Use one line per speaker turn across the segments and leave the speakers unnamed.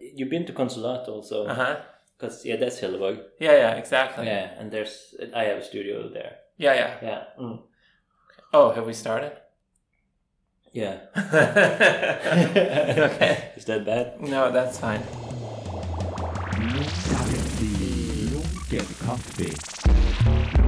you've been to Consolato, so
Uh huh.
because yeah, that's Hilleberg.
Yeah, yeah, exactly. Oh, Yeah,
Yeah, and there's I have a studio there.
yeah.
Yeah, mm.
Oh, have we started?
yeah.
okay.
Is that bad?
No, that's fine.
Get the coffee.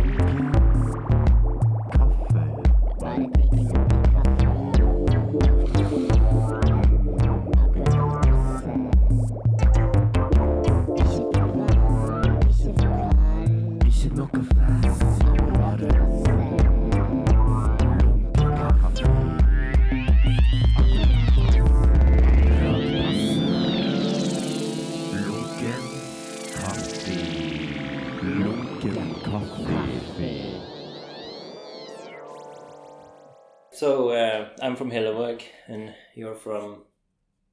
So uh, I'm from Hilleberg, and you're from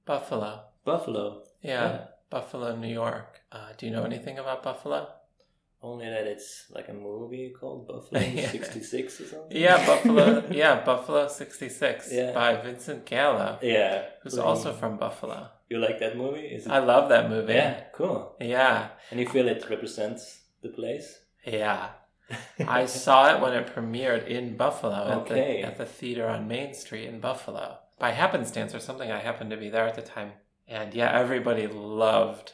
Buffalo.
Buffalo.
Yeah,
Yeah.
Buffalo, New York. Uh, do you know anything about Buffalo?
Only that it's like a movie called Buffalo
Yeah.
'66 or something.
Yeah, Buffalo. yeah, Buffalo 66
Yeah.
by Vincent Gallo,
Yeah.
who's
Like,
also from Buffalo.
you like that movie? Is it?
I love that movie.
yeah, cool.
Yeah.
And you feel it represents the place?
Yeah. I saw it when it premiered in Buffalo at,
Okay.
the, at the theater on Main Street in Buffalo. By happenstance or something, I happened to be there at the time. And yeah, everybody loved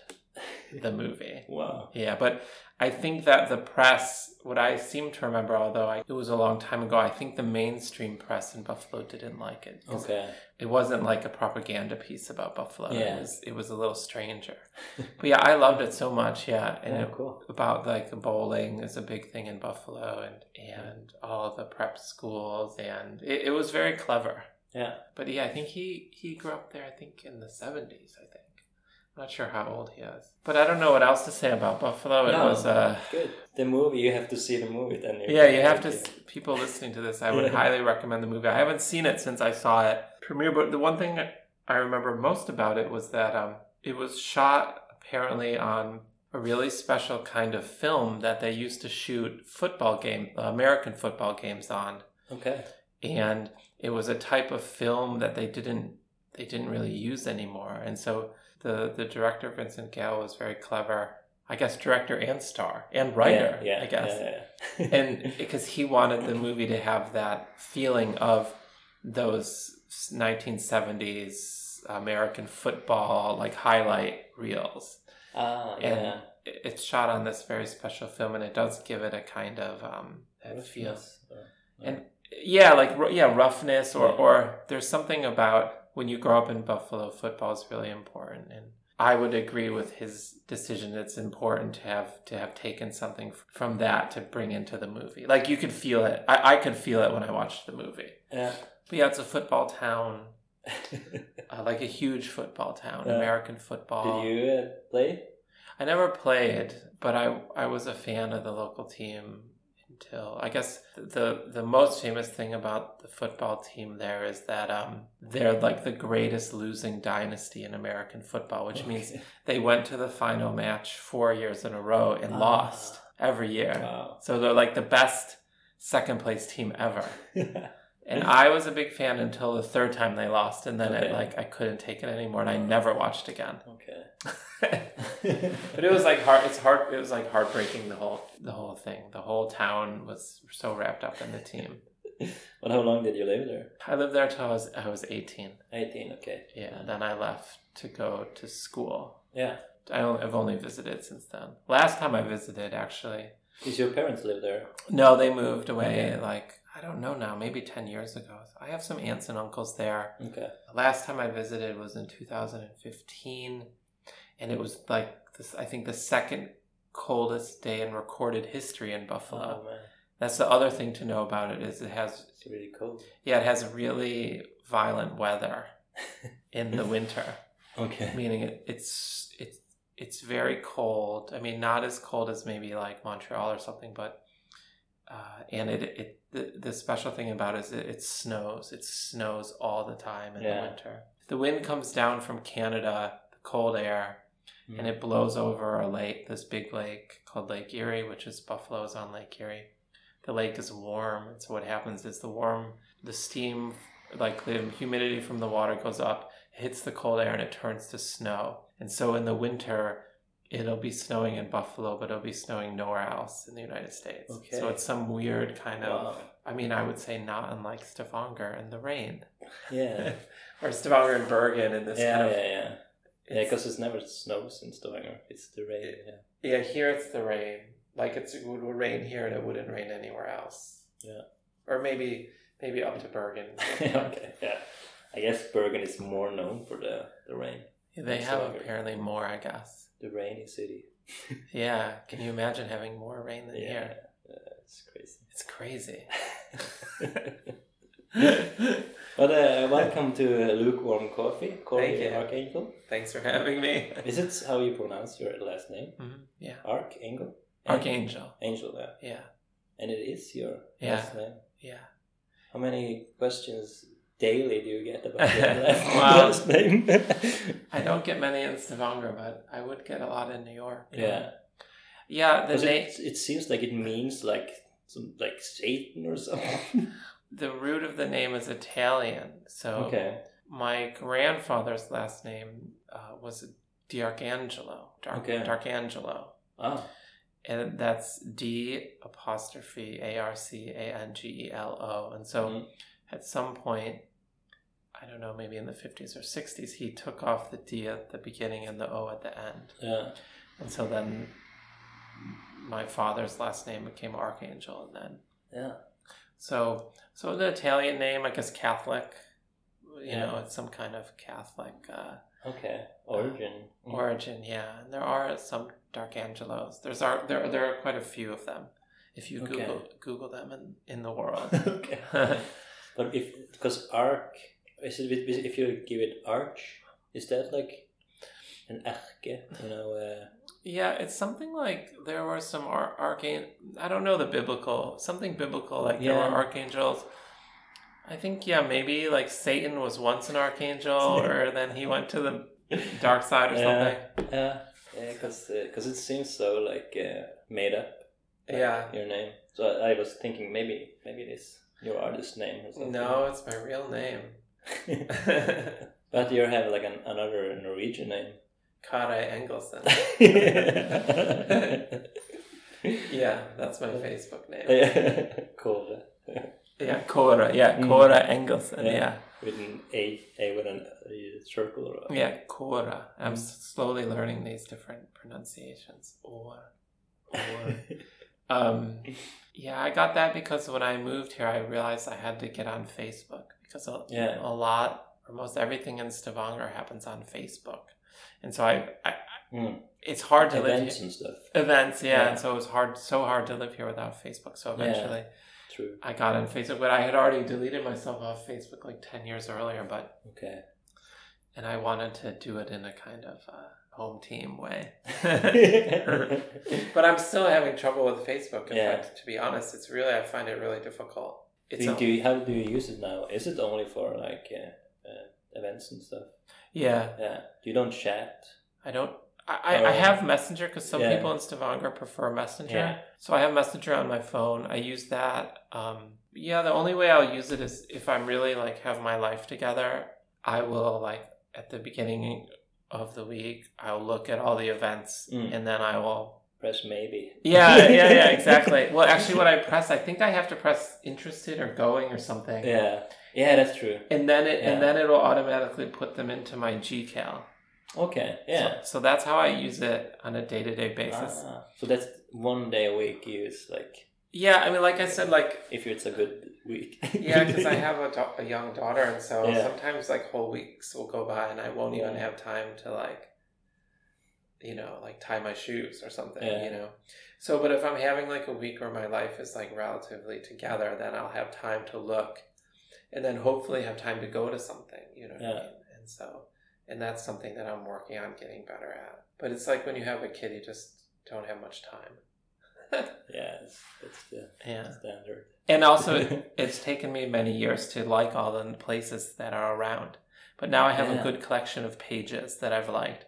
the movie.
Wow.
Yeah, but I think that the press, what I seem to remember, although I, it was a long time ago, I think the mainstream press in Buffalo didn't like it. 'cause
Okay.
It wasn't like a propaganda piece about Buffalo.
Yeah.
It, was, it was a little stranger. but yeah, I loved it so much. Yeah. And
Yeah,
it,
cool.
about like bowling is a big thing in Buffalo and, and all the prep schools. And it, it was very clever.
Yeah.
But yeah, I think he he grew up there. I think in the seventies. I think. I'm not sure how old he is, but I don't know what else to say about Buffalo. It
No.
was uh,
Good. The movie, you have to see the movie then. you
yeah.
can
You have to.
like
s
it.
People listening to this, I would
Yeah.
highly recommend the movie. I haven't seen it since I saw it premiere, but the one thing I remember most about it was that um, it was shot apparently on a really special kind of film that they used to shoot football game, American football games on
Okay.
and it was a type of film that they didn't they didn't really use anymore and so the the director vincent gale was very clever i guess director and star and writer
Yeah, yeah,
i guess
yeah, yeah.
and because he wanted the movie to have that feeling of those 1970s american football like highlight reels
ah,
and
yeah.
it- it's shot on this very special film and it does give it a kind of um that feel
Roughness.
and yeah like ru- yeah roughness or
Yeah.
or there's something about when you grow up in buffalo football is really important and i would agree with his decision it's important to have to have taken something f- from that to bring into the movie like you could feel it i, I could feel it when i watched the movie
Yeah.
but yeah it's a football town uh, like a huge football town
Yeah.
american football
Did you uh, play?
I never played, but I I was a fan of the local team until I guess the the most famous thing about the football team there is that um they're like the greatest losing dynasty in American football, which means
Okay.
they went to the final match 4 years in a row and
Ah.
lost every year.
Wow.
So they're like the best second place team ever.
yeah.
And I was a big fan until the third time they lost and then it
Okay. Ah.
like I couldn't take it anymore and I never watched again.
Okay.
But it was like heart. It's heart. It was like heartbreaking. The whole the whole thing. The whole town was so wrapped up in the team.
But how long did you live there?
I lived there till I was I was eighteen.
18, okay.
Yeah. Then I left to go to school.
Yeah.
I only, I've only visited since then. Last time I visited, actually,
Did your parents live there?
no, they moved away.
Okay.
Like I don't know now. Maybe ten years ago. I have some aunts and uncles there.
Okay.
Last time I visited was in 2015, and it was like this. I think the second coldest day in recorded history in Buffalo.
Oh, man.
That's the other thing to know about it is it has
It's really cold.
yeah it has really violent weather in the winter,
Okay.
meaning it, it's it's it's very cold. I mean, not as cold as maybe like Montreal or something, but uh, and it it the, the special thing about it is it, it snows. It snows all the time in
Yeah.
the winter. The wind comes down from Canada, the cold air,
Mm.
and it blows over a lake, this big lake called Lake Erie, which is Buffalo's on Lake Erie. The lake is warm, and so what happens is the warm, the steam, like the humidity from the water goes up, hits the cold air and it turns to snow. And so in the winter, it'll be snowing in Buffalo, but it'll be snowing nowhere else in the United States.
Okay.
So it's some weird kind of,
Wow.
I mean, I would say not unlike Stavanger and the rain,
Yeah.
or Stavanger and Bergen and this
yeah,
kind of.
yeah, yeah. Yeah,
it's-
because it's never snows in Stavanger. It's the rain. Yeah.
Yeah, here it's the rain. Like it's, it would rain here and it wouldn't rain anywhere else.
Yeah.
Or maybe maybe up to Bergen.
okay. Yeah. I guess Bergen is more known for the, the rain.
They
That's
have
so good.
apparently more, I guess.
The rainy city.
Yeah. Can you imagine having more rain than
Yeah.
here?
Yeah, it's crazy.
It's crazy.
But uh, welcome to uh, Lukewarm Coffee, Corey
Thank you.
Archangel.
Thanks for having me.
Is it how you pronounce your last name?
Mhm, Yeah.
Archangel?
Archangel.
Angel, yeah.
Yeah.
And it is your
Yeah.
last name.
Yeah.
How many questions daily do you get about your last,
Wow.
last name?
I don't get many in Stavanger, but I would get a lot in New York.
yeah.
Yeah. Uh, The
Because
name.
it, it seems like it means like some like Satan or something.
The root of the name is Italian. So
okay.
my grandfather's last name uh, was D'Arcangelo. Dar-
Okay.
D'Arcangelo.
Ah,
And that's D apostrophe A R C A N G E L O. And so
Mhm.
at some point, I don't know, maybe in the 50s or 60s, he took off the D at the beginning and the O at the end.
yeah.
And so then my father's last name became Archangel. And then,
Yeah.
so, so the Italian name, I guess Catholic, you
Yeah.
know, it's some kind of Catholic. Uh,
Okay. Origin.
origin yeah and there are some dark angelos there's are there, there are quite a few of them if you
Okay.
google google them in, in the world
okay. But if because arc is it with- if you give it arch, is that like an arche? You know, uh,
yeah it's something like there were some ar- archangel i don't know the biblical something biblical like there
Yeah.
were archangels i think yeah maybe like satan was once an archangel or then he went to the dark side or
Yeah.
something
yeah, yeah, because because it seems so like uh, made up. like,
Yeah.
your name. So I, I was thinking maybe maybe it is your artist name or something.
no it's my real name
but you have like an, another Norwegian name.
kare engelsen yeah that's my facebook name
Kåre
Yeah, Cora. Yeah,
Mm.
Cora Engelsen.
Yeah.
Yeah. yeah,
with an A A with an uh, circle or a-
Cora. I'm s- slowly learning these different pronunciations. Or, or. um, yeah, I got that because when I moved here, I realized I had to get on Facebook because a,
Yeah.
a lot or most everything in Stavanger happens on Facebook, and so I, I, I
Mm.
it's hard to live
events
here.
and stuff.
events. Yeah,
Yeah.
and so it was hard, so hard to live here without Facebook. So
Yeah.
eventually.
True.
I got on Facebook, but I had already deleted myself off Facebook like 10 years earlier, but
Okay.
and I wanted to do it in a kind of uh, home team way. but I'm still having trouble with Facebook. In
Yeah.
fact, to be honest, it's really I find it really difficult. It's
do,
a-
do you, how do you use it now? Is it only for like uh, uh, events and stuff?
yeah,
Yeah. You don't chat.
I don't. I, I, I
Oh.
have Messenger because some
Yeah.
people in Stavanger prefer Messenger.
Yeah.
So I have Messenger on my phone. I use that. Um, yeah, the only way I'll use it is if I'm really like have my life together. I will like at the beginning of the week, I'll look at all the events
Mm.
and then I will.
Press maybe.
Yeah, yeah, yeah, exactly. well, actually, when I press, I think I have to press interested or going or something.
Yeah. Yeah, that's true.
And then it
Yeah.
and then it'll automatically put them into my GCal.
Okay. Yeah.
So, so that's how I use it on a day to day basis.
Ah, so that's one day a week you use like
Yeah, I mean, like I said, like
if it's a good week.
yeah, because I have a, da- a young daughter, and so
Yeah.
sometimes like whole weeks will go by, and I won't even
Yeah.
have time to like, you know, like tie my shoes or something,
Yeah.
you know. So, but if I'm having like a week where my life is like relatively together, then I'll have time to look, and then hopefully have time to go to something, you know. What
Yeah.
I mean? And so, and that's something that I'm working on getting better at. But it's like when you have a kid, you just don't have much time.
Yeah, that's, that's the
Yeah.
standard.
And also, it, it's taken me many years to like all the places that are around. But now I have
Yeah.
a good collection of pages that I've liked,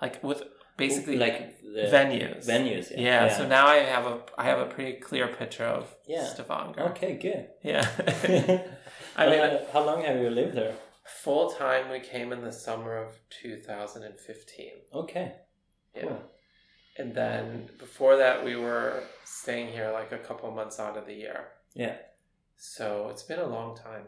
like with basically
like the
venues.
venues.
Yeah. So now I have a I have a pretty clear picture of
Yeah.
Stavanger.
Okay, good.
Yeah.
I
I mean,
Uh, how long have you lived there?
Full time, we came in the summer of 2015.
Okay.
Yeah.
Cool.
And then before that, we were staying here like a couple months out of the year.
Yeah.
So it's been a long time.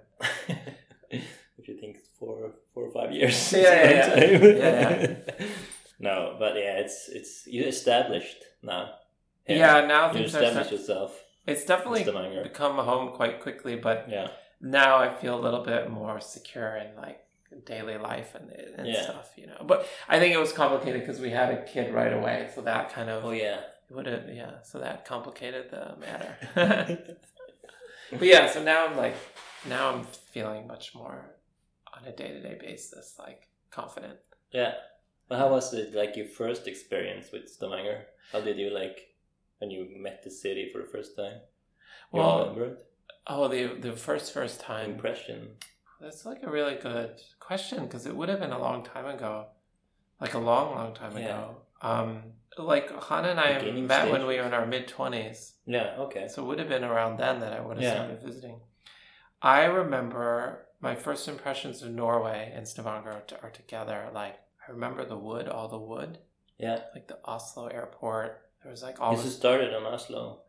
if you think four, four or five years.
Yeah, yeah, yeah.
Long time.
Yeah,
no, but yeah, it's it's you established now. Here.
Yeah, now
you
things are.
established
Such,
yourself.
it's definitely
Mr. Manger.
become home quite quickly, but
Yeah,
now I feel a little bit more secure in like daily life and, and
Yeah.
stuff, you know. But I think it was complicated because we had a kid right away, so that kind of
oh yeah,
would have yeah. So that complicated the matter. but yeah, so now I'm like now I'm feeling much more on a day to day basis, like confident.
yeah. But how was it like your first experience with Stavanger? How did you like when you met the city for the first time? You
Well, um,
remember it?
Oh, the the first first time.
impression.
That's like a really good question because it would have been a long time ago, like a long, long time
Yeah.
ago. Um, like Hannah and I
Beginning
met when
stages.
we were in our mid twenties,
Yeah. Okay.
so it would have been around then that I would have
Yeah.
started visiting. I remember my first impressions of Norway and Stavanger are, are together. Like I remember the wood, all the wood,
Yeah.
like the Oslo airport. There was like all
this
this
is started on Oslo.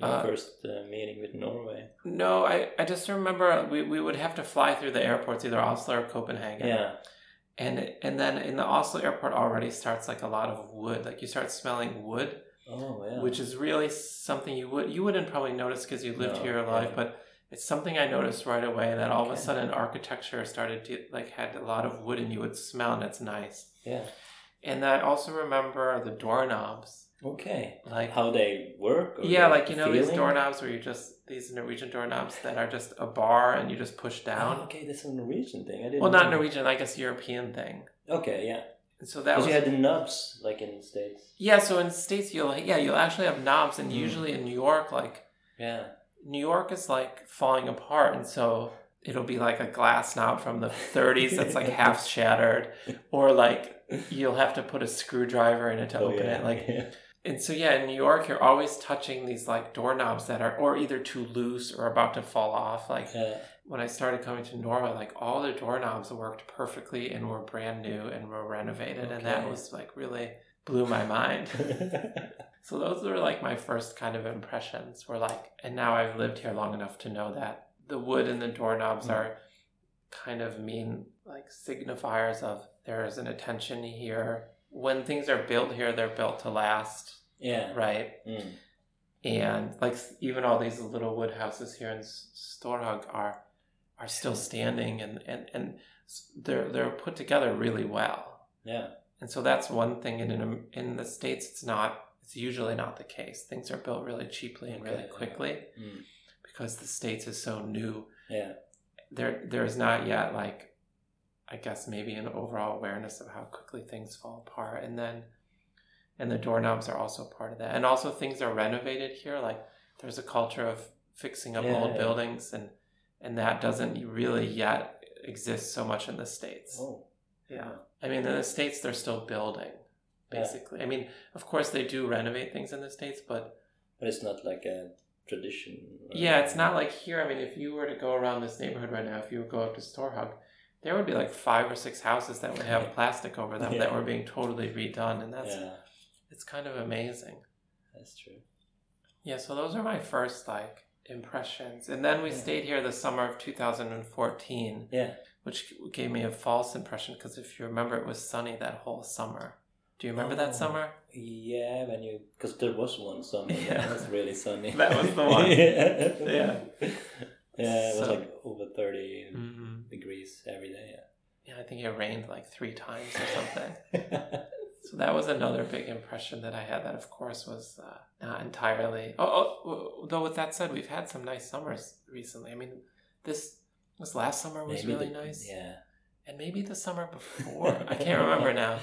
Your
Uh,
first uh, meeting with Norway.
No, I, I just remember we, we would have to fly through the airports, either Oslo or Copenhagen.
Yeah.
And and then in the Oslo airport already starts like a lot of wood. Like you start smelling wood,
Oh yeah.
which is really something you would you wouldn't probably notice because you lived
No,
here your
yeah.
life, but it's something I noticed right away that all of a
Okay.
sudden architecture started to like had a lot of wood and you would smell and it's nice.
yeah.
And I also remember the doorknobs.
Okay.
Like
How they work? or
yeah,
the-
like
Oh, the
you know these
feeling?
doorknobs where you just these Norwegian doorknobs that are just a bar and you just push
Oh,
down.
okay, that's a Norwegian thing. Oh, I didn't.
Well, not
know.
Norwegian, I guess European thing.
Okay, yeah.
And so that
Because
was
you had the nubs like in the states.
yeah. So in states, you'll yeah you'll actually have knobs, and
Mm.
usually in New York, like
Yeah.
New York is like falling apart, and so it'll be like a glass knob from the 30s that's like half shattered, or like you'll have to put a screwdriver in it to
Oh,
open
yeah,
it, like
yeah.
And so yeah, in New York, you're always touching these like doorknobs that are or either too loose or about to fall off. Like
Yeah.
when I started coming to Norway, like all the doorknobs worked perfectly and were brand new and were renovated, and that
Okay.
was like really blew my mind. so those were like my first kind of impressions. Were like, and now I've lived here long enough to know that the wood and the doorknobs
Mm.
are kind of mean like signifiers of there is an attention here. When things are built here, they're built to last
yeah.
right?
Mm.
And like s- even all these little wood houses here in S- Storhog are are still standing and and and s- they're they're put together really well.
Yeah.
And so that's one thing. And in Am- in the states, it's not. It's usually not the case. Things are built really cheaply and
Okay,
really
yeah.
quickly
Mm.
because the states is so new.
Yeah.
There there is not yet like. I guess maybe an overall awareness of how quickly things fall apart, and then and the doorknobs are also part of that. And also things are renovated here. Like there's a culture of fixing up
Yeah,
old
yeah.
buildings and and that doesn't really yet exist so much in the States.
Oh.
Yeah. I mean in the States they're still building,
Yeah.
basically. I mean, of course they do renovate things in the States, but
But it's not like a tradition. or-
yeah, it's not like here. I mean, if you were to go around this neighborhood right now, if you would go up to Storehog, there would be like five or six houses that would have plastic over them that
Yeah.
were being totally redone and that's
Yeah.
it's kind of amazing.
That's true.
Yeah, so those are my first like impressions. And then we
Yeah.
stayed here the summer of 2014,
Yeah.
which gave me a false impression because if you remember, it was sunny that whole summer. Do you remember
Oh.
that summer?
Yeah, when you because there was one sunny. Yeah.
Yeah.
That was really sunny.
That was the one.
yeah.
Yeah.
Yeah, it was
So-
like over 30
Mm-hmm.
degrees every day.
Yeah, I think it rained like three times or something.
Yeah.
so that was another big impression that I had. That of course was uh, not entirely. Oh, oh, w- though with that said, we've had some nice summers recently. I mean, this this last summer was
Maybe
really
the-
nice.
Yeah.
and maybe the summer before. I can't remember now.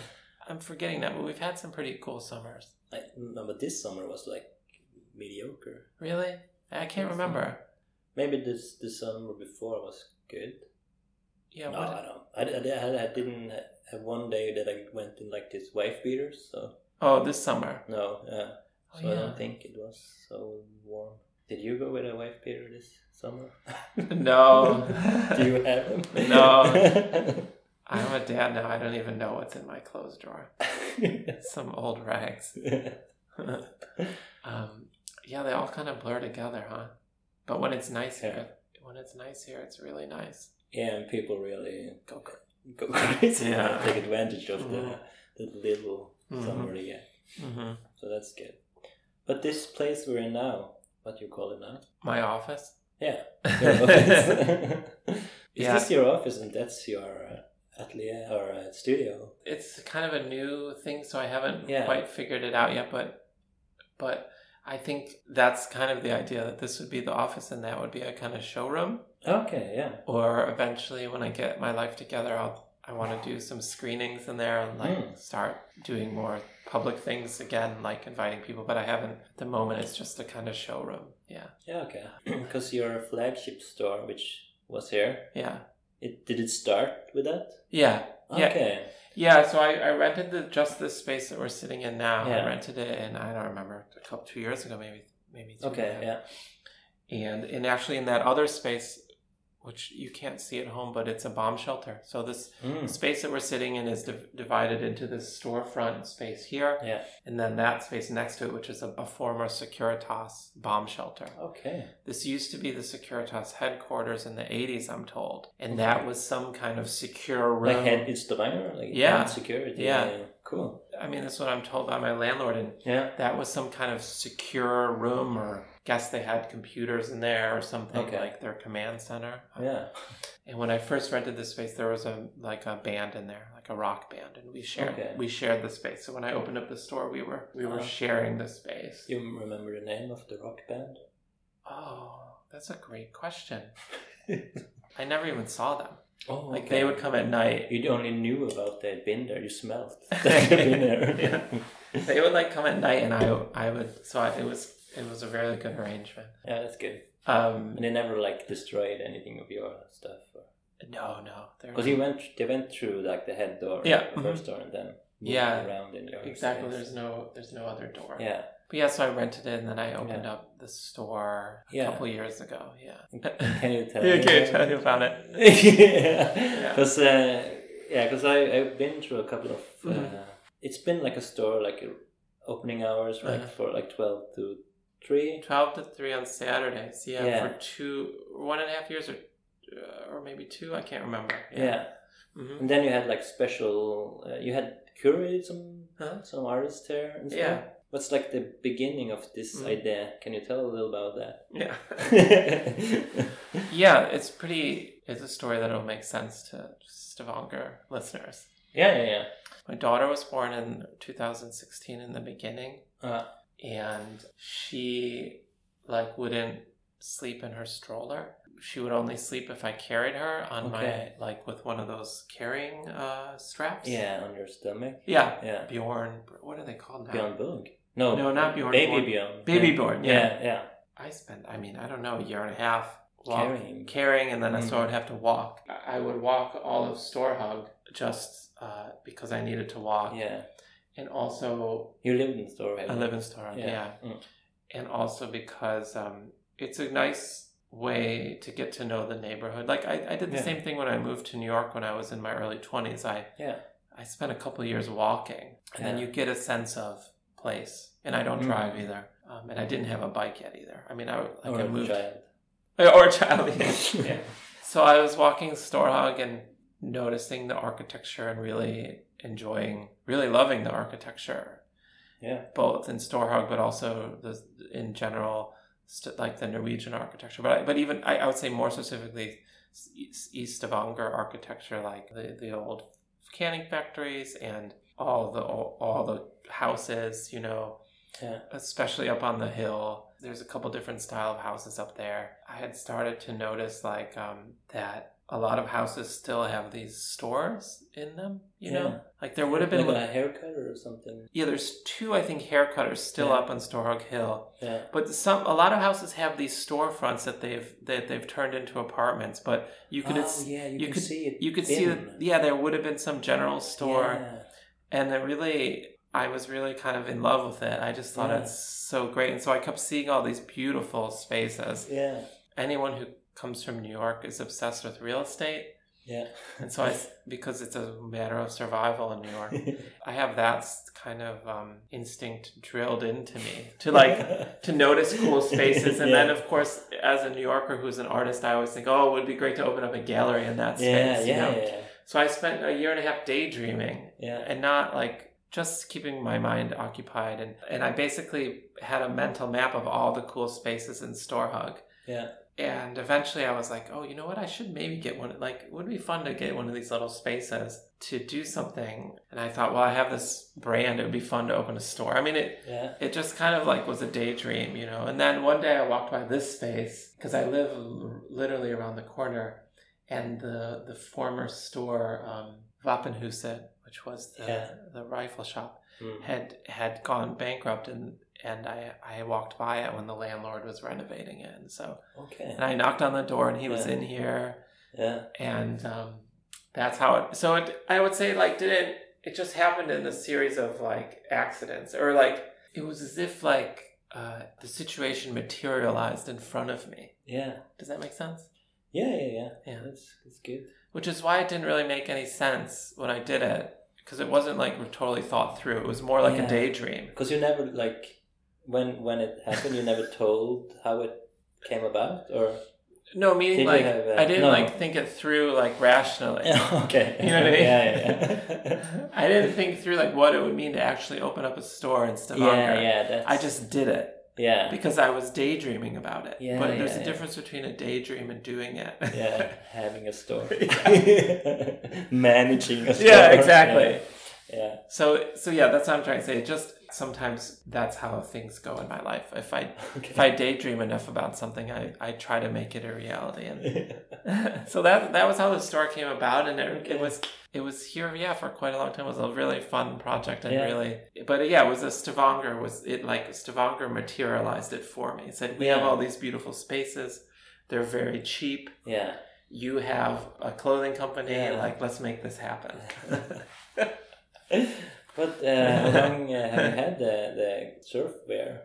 I'm forgetting that, but we've had some pretty cool summers.
I, no, but this summer was like mediocre.
Really? I can't remember.
Maybe this the summer before was good.
Yeah.
no,
what-
I don't. I, I, I didn't have one day that I went in like this wife beaters. So
Oh, this summer.
no, yeah. So I
Oh, yeah.
don't think it was so warm. Did you go with a wife beater this summer?
No.
Do you have them?
No. I'm a dad now. I don't even know what's in my clothes drawer. Some old rags. um, yeah, they all kind of blur together, huh? But when it's nice here, when it's nice here, it's really nice.
yeah, and people really
Go crazy.
go crazy.
Yeah. Mm-hmm.
Take advantage of the, the little
Mhm.
summer yeah.
hmm
So that's good. But this place we're in now, what you call it now?
My office.
Yeah. Your office. Is
Yeah.
this your office and that's your uh, atelier or uh, studio?
it's kind of a new thing, so I haven't
Yeah.
quite figured it out yet. But but I think that's kind of the idea that this would be the office and that would be a kind of showroom.
Okay, yeah.
Or eventually, when I get my life together, I'll I want to do some screenings in there and like
Mm.
start doing more public things again, like inviting people. But I haven't at the moment. It's just a kind of showroom. Yeah,
Yeah, okay. Because your flagship store, which was here,
yeah,
it did it start with that?
yeah. Yeah.
Okay.
Yeah, so I, I rented the just this space that we're sitting in now. I
Yeah.
rented it and I don't remember a couple two years ago maybe maybe two
Okay,
and a half.
yeah.
And and actually in that other space which you can't see at home but it's a bomb shelter. So this
Mm.
space that we're sitting in is div- divided into this storefront space here
Yeah.
and then that space next to it which is a, a former Securitas bomb shelter.
Okay.
This used to be the Securitas headquarters in the 80s I'm told. And that was some kind of secure room.
Like head it's the banner, like
Yeah.
hand security.
Yeah.
Cool.
I mean that's what I'm told by my landlord and
Yeah.
that was some kind of secure room or guess they had computers in there or something
Okay.
like their command center
Yeah.
and when i first rented the space there was a like a band in there like a rock band and we shared
Okay.
we shared the space so when i opened up the store we were we were
Uh-huh.
sharing the space
You remember the name of the rock band?
oh that's a great question i never even saw them
Oh,
like they would come at night
You only knew about they'd been there. You smelled that they'd been there.
Yeah. they would like come at night and i i would so I, it was it was a very good arrangement
Yeah, that's good.
um
And they never like destroyed anything of your stuff,
no no there
because you went. They went through like the head door,
Yeah, mm-hmm.
the first door, and then moved
Yeah.
around in your
Exactly.
space.
There's no there's no other door.
Yeah,
But yeah, so I rented it and then I opened up the store a
Yeah.
couple years ago. Yeah.
can you tell?
Yeah,
me
can you
about
tell
it?
me about it?
yeah, because uh, yeah, 'cause I I've been through a couple of. Uh,
Mhm.
It's been like a store like uh, opening hours like
Uh-huh.
for like twelve to three.
Twelve to three on Saturdays. Yeah,
Yeah.
for two one and a half years or uh, or maybe two. I can't remember.
yeah.
hmm
And then you had like special, uh, you had curated some
Huh?
some artists there and stuff.
Uh-huh. Yeah.
What's like the beginning of this
Mm.
idea? Can you tell a little about that?
Yeah. yeah. It's pretty. It's a story that'll make sense to Stavanger listeners.
yeah, yeah, yeah.
My daughter was born in 2016 in the beginning.
Uh,
and she like wouldn't sleep in her stroller she would only sleep if i carried her on
Okay.
my like with one of those carrying uh straps
yeah, on your stomach.
yeah
Yeah.
bjorn what are they called now
Beyond Bug. No,
Uh-huh. No, not Bjorn
Baby
Borg.
Beyond.
baby
yeah.
bjorn yeah.
Yeah, yeah.
i spent i mean i don't know a year and a half
Carrying.
carrying and then I
Mm.
so i would have to walk I- i would walk all of storehug just uh, because i needed to walk
Yeah.
and also
You lived in Storheim.
I live in Storehog, yeah.
Yeah. Mm.
And also because um, it's a nice way to get to know the neighborhood. Like I, I did the
Yeah.
same thing when I moved to New York when I was in my early 20s. I,
Yeah.
I spent a couple years walking and then
Yeah.
you get a sense of place. And I don't
Mm.
drive either. Um, and I didn't have a bike yet either. I mean, I like
Or
I
a
moved
child.
or a child. yeah. So I was walking Storhog and noticing the architecture and really enjoying, really loving the architecture
Yeah.
both in Storhog, but also the in general, st- like the Norwegian architecture. But I, but even I, I would say more specifically, s- east East Stavanger architecture, like the the old canning factories and all the all, all the houses, you know,
Yeah.
especially up on the hill. There's a couple different style of houses up there. I had started to notice like um, that. A lot of houses still have these stores in them, you
Yeah.
know. Like there would have been
like a haircut or something.
yeah, there's two I think haircutters still
Yeah.
up on Storhog Hill,
Yeah.
but some a lot of houses have these storefronts that they've that they've turned into apartments. But you could
oh,
it's-
yeah, you,
you
can
could-
see it.
you could see that
thin.
yeah there would have been some general store,
Yeah.
and it really I was really kind of in love with it. I just thought
Yeah.
it's so great. And so I kept seeing all these beautiful spaces.
Yeah.
Anyone who comes from New York is obsessed with real estate.
Yeah.
And so I, because it's a matter of survival in New York, I have that s- kind of um, instinct drilled into me to like to notice cool spaces. And then,
Yeah.
of course, as a New Yorker who's an artist, I always think, oh, it would be great to open up a gallery in that
yeah,
space. you
yeah,
know?
yeah,
So I spent a year and a half daydreaming
yeah,
uh, and not like just keeping my mind occupied and and I basically had a mental map of all the cool spaces in Storehug.
Yeah.
And eventually I was like, oh, you know what? I should maybe get one. Like, it would be fun to get one of these little spaces to do something. And I thought, well, I have this brand. It would be fun to open a store. I mean, it
yeah.
it just kind of like was a daydream, you know. And then one day I walked by this space because I live l- literally around the corner, and the the former store um, Wapenhuset, which was the
Yeah.
the rifle shop,
Mm.
had had gone bankrupt, and and I I walked by it when the landlord was renovating it, and so
Okay.
and I knocked on the door, and he was
Yeah.
in here,
Yeah.
and um, that's how it. So it, I would say like didn't it just happened in a series of like accidents or like it was as if like uh, the situation materialized in front of me.
Yeah.
Does that make sense?
Yeah. Yeah. Yeah.
Yeah.
That's that's good.
Which is why it didn't really make any sense when I did it because it wasn't like totally thought through. It was more like
Yeah.
a daydream.
Because you never like when when it happened, you never told how it came about, or
No, meaning
Did you
like
have, uh,
I didn't
no.
like think it through like rationally.
okay.
You know what I mean?
Yeah. Yeah.
I didn't think through like what it would mean to actually open up a store in
Yeah.
Stavanger.
yeah, yeah that's,
I just did it.
yeah.
because I was daydreaming about it.
Yeah,
but there's
yeah,
a
yeah.
difference between a daydream and doing it.
Yeah, having a store, managing a store.
Yeah, exactly.
Yeah,
So so yeah, that's what I'm trying to say. It just sometimes that's how things go in my life. If I if I daydream enough about something, I, I try to make it a reality.
yeah.
And so that that was how the store came about, and it, it was it was here yeah for quite a long time. It was a really fun project and
Yeah.
really, but yeah, it was a Stavanger was it like Stavanger materialized it for me. It said we have
Yeah.
all these beautiful spaces. They're very cheap.
yeah.
you have a clothing company
Yeah.
like let's make this happen
But uh, how long uh, have you had the, the surfwear?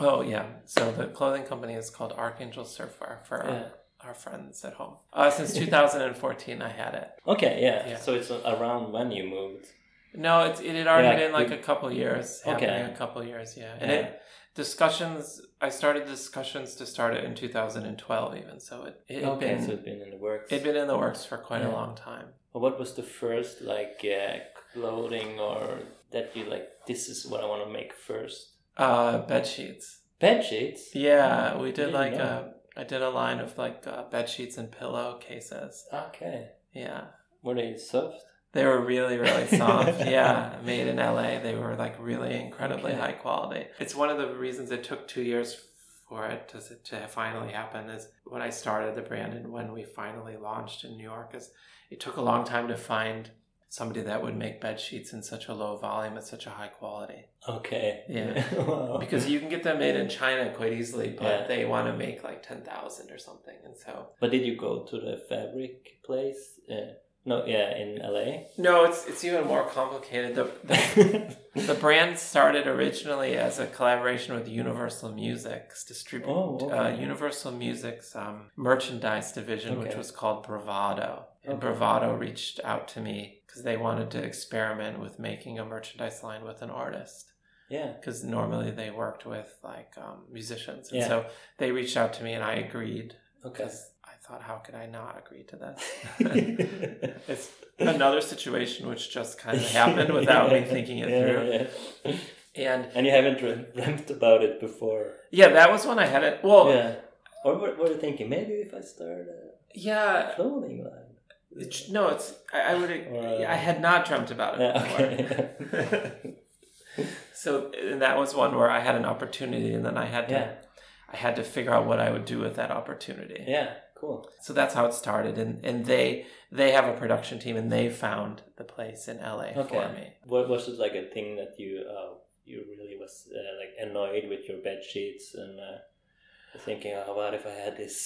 oh yeah so the clothing company is called archangel surfwear for
Yeah.
our, our friends at home uh, since 2014 i had it
Okay, yeah.
Yeah.
So it's around when you moved.
no it's, it had already
Yeah,
been like
you-
a couple years
Okay.
happening a couple years yeah and
Yeah.
it discussions i started discussions to start it in 2012 even so it, it had
okay,
been
so it's been in the works.
it'd been in the works for quite
Yeah.
a long time
Well, What was the first like uh, clothing or that you like? This is what I want to make first.
uh bed sheets
Bed sheets.
Yeah, we did
didn't
like
know.
a, I did a line of like uh, bed sheets and pillowcases.
Okay.
Yeah,
Were they soft?
they were really really soft. yeah, made in LA, they were like really incredibly
Okay.
high quality. It's one of the reasons it took two years for it to to finally happen. Is when I started the brand and when we finally launched in New York, is it took a long time to find somebody that would make bed sheets in such a low volume at such a high quality.
Okay.
Yeah.
Wow.
Because you can get them made in China quite easily, but
Yeah.
they want to make like ten thousand or something, and so
But did you go to the fabric place? Uh, no. Yeah, in LA.
No, it's it's even more complicated. The, the, the brand started originally as a collaboration with Universal Music's distribute
Oh, okay.
uh, Universal Music's um, merchandise division, which
Okay.
was called Bravado. And
Okay.
Bravado reached out to me because they wanted to experiment with making a merchandise line with an artist.
yeah.
Because normally they worked with like um, musicians, and
Yeah.
so they reached out to me, and I agreed
Okay.
because I thought, how could I not agree to this? It's another situation which just kind of happened without me thinking it
Yeah,
through.
yeah.
And
And you haven't dream- dreamt about it before.
yeah, that was when I had it. Well, yeah,
Yeah. Or were, were you thinking maybe if I start a clothing line?
it's- no, it's I, I would
Or, uh,
I had not dreamt about it
Yeah,
before.
okay.
So and that was one where I had an opportunity, and then I had to
Yeah.
I had to figure out what I would do with that opportunity.
yeah, cool.
So that's how it started, and and they they have a production team, and they found the place in LA for
Okay.
me.
What was it like a thing that you uh, you really was uh, like annoyed with your bed sheets and uh, thinking, oh, what if I had this?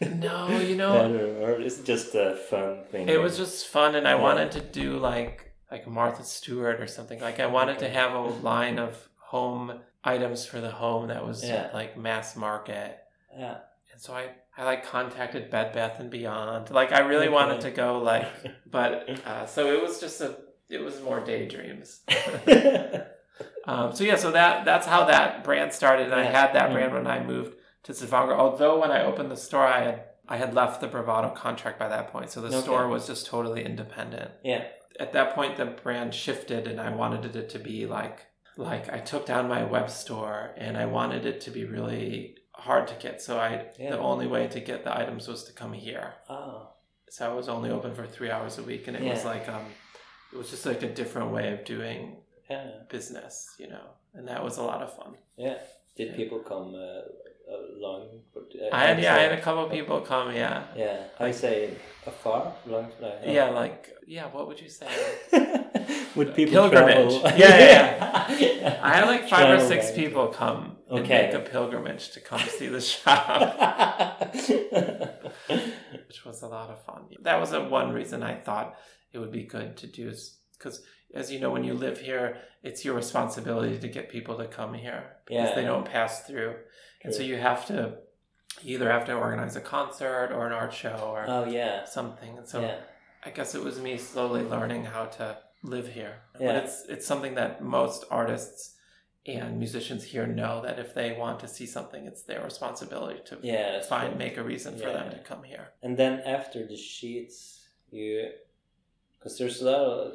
No, you know-
better?" or is it just a fun thing?
It was just fun, and I
Yeah.
wanted to do like like Martha Stewart or something. Like I wanted to have a line of home items for the home that was
Yeah.
like mass market.
Yeah.
And so I, I like contacted Bed Bath and Beyond. Like I really wanted to go like, but uh, so it was just a, it was more daydreams. Um, so yeah, so that that's how that brand started, and I
Yeah. Mm.
had that brand when I moved to Stavanger. Although when I opened the store, I had I had left the Bravado contract by that point, so the
Okay.
store was just totally independent.
yeah.
At that point, the brand shifted, and I wanted it to be like like I took down my web store, and I wanted it to be really hard to get. So I
Yeah.
the only way to get the items was to come here.
Oh.
So I was only open for three hours a week, and it was
Yeah.
like um, it was just like a different way of doing
Yeah.
business, you know, and that was a lot of fun.
Yeah. Did
Yeah.
people come uh, along? uh,
I had yeah, I had a couple people come, yeah,
Yeah. I say afar, long. uh, No, no.
yeah, like yeah, what would you say?
Would people
Pilgrimage.
travel?
Yeah, yeah, I had like five or
Travel
six
bag.
people come and
Okay.
make a pilgrimage to come see the shop, which was a lot of fun. That was a one reason I thought it would be good to do is because, as you know, when you live here, it's your responsibility to get people to come here because
Yeah.
they don't pass through, and so
True.
you have to. You either have to organize a concert or an art show or
oh yeah.
something. And so
yeah.
I guess it was me slowly learning how to live here.
Yeah.
But it's it's something that most artists and musicians here know that if they want to see something, it's their responsibility to
Yeah. that's
find
true.
make a reason for them
Yeah.
to come here.
And then after the sheets, you, because there's a lot of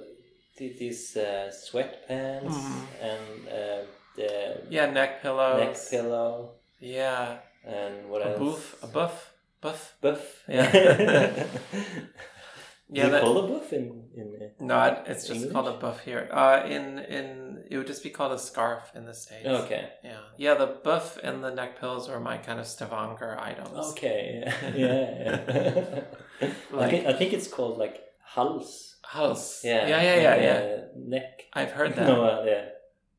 th- these uh, sweatpants
Mhm.
and uh, the
Yeah, neck pillows.
neck pillow
Yeah,
and what
a
else?
boof, a buff, buff.
Buff.
Yeah.
yeah. Do
Yeah,
you
that-
call a buff in in?
No, it- it's just
English?
called a buff here. Uh, in in it would just be called a scarf in the states.
Uh... Okay.
Yeah, yeah. The buff and the neck pillows were my kind of Stavanger items.
Okay. Yeah. yeah. I,
Like-
think, I think it's called like hals.
House.
Yeah.
yeah, yeah,
like,
yeah. yeah.
uh, neck.
I've heard that.
No. Uh, yeah.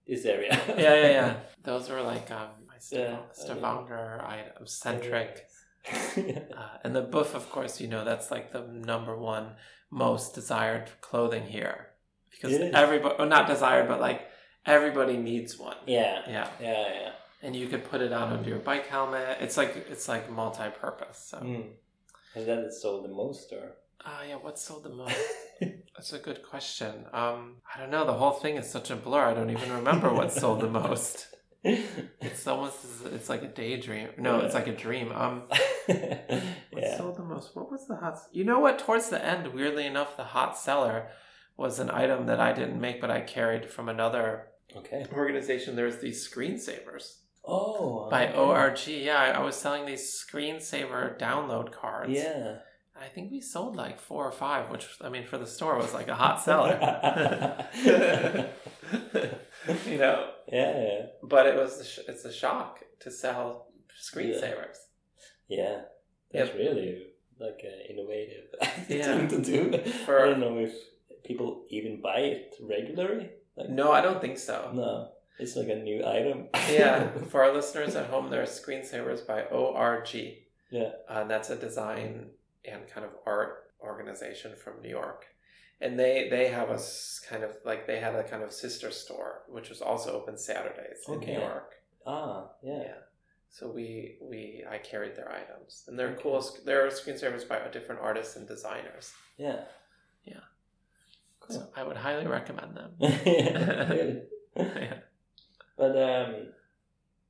This area.
yeah, yeah, yeah. Those were like um, my
Yeah,
Stav- Stavanger item, centric.
yeah.
Uh, and the buff, of course, you know, that's like the number one most desired clothing here. Because
It is.
everybody, well, not desired, but like everybody needs one.
Yeah.
Yeah.
Yeah.
And you could put it on under your bike helmet. It's like, it's like multi purpose. So,
Mm. Is that it sold the most or?
Ah, yeah, what sold the most? that's a good question. Um, I don't know. The whole thing is such a blur. I don't even remember what sold the most. It's almost it's like a daydream. No, it's like a dream. Um, what
yeah.
sold the most? What was the hot? You know what? Towards the end, weirdly enough, the hot seller was an item that I didn't make, but I carried from another
Okay.
organization. There's these screensavers
Oh.
by
okay.
ORG. Yeah, I, I was selling these screensaver download cards.
Yeah.
I think we sold like four or five, which I mean, for the store was like a hot seller. you know,
Yeah.
but it was a sh- it's a shock to sell screensavers.
Yeah. That's really like uh, innovative
Yeah.
thing to do.
For-
I don't know if people even buy it regularly. Like
No, I don't think so.
no, it's like a new item.
yeah, for our listeners at home, there are screensavers by ORG.
Yeah.
Uh, and that's a design and kind of art organization from New York. And they they have a s- kind of like they had a kind of sister store which was also open Saturdays in
Okay.
New York.
ah. Yeah.
So we we I carried their items and they're
Okay.
cool. sc- There are screensavers by different artists and designers.
Yeah.
Yeah.
Cool.
So I would highly recommend them.
Really.
yeah.
But um,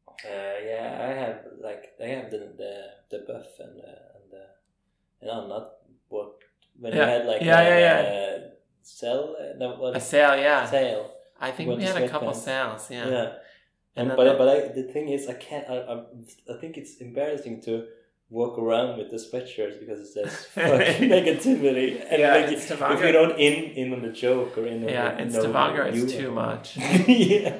uh, yeah, I have like I have the the, the buff and the, and the, and I'm not what when
Yeah.
I had like
Yeah,
a,
yeah,
uh, sell uh, no what
A sale, yeah.
sale
I think
Well,
we
the
had a couple
sweatpants.
sales,
yeah.
yeah.
And
then
but
the-
but I, the thing is I can't I, I I think it's embarrassing to walk around with the sweatshirts because it says fuck negativity and
Yeah,
like
in
if
Stavanger-
you don't in in on the joke or in on
Yeah,
the,
in
no,
Stavanger it's
you-
too much.
yeah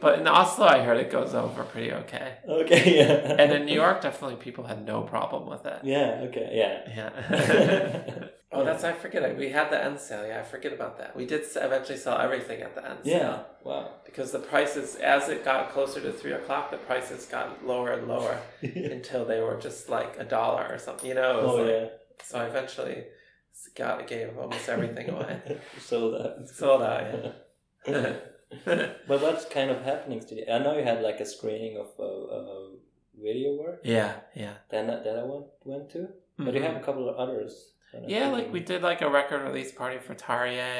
But in Oslo I heard it goes over pretty okay.
okay yeah
And in New York definitely people had no problem with it.
yeah okay yeah
Yeah. oh that's I forget it. We had the end sale, yeah, I forget about that. We did s- eventually sell everything at the end
yeah.
sale.
Wow.
Because the prices as it got closer to three o'clock the prices got lower and lower until they were just like a dollar or something. You know, it was
oh
like-
yeah.
so I eventually Scott gave almost everything away.
Sold out.
Sold out, yeah.
But what's kind of happening today? I know you had like a screening of a, a video work.
yeah, yeah.
Then that I went went to, but you
Mhm.
have a couple of others. that I'm
Yeah,
thinking-
like we did like a record release party for Tarye.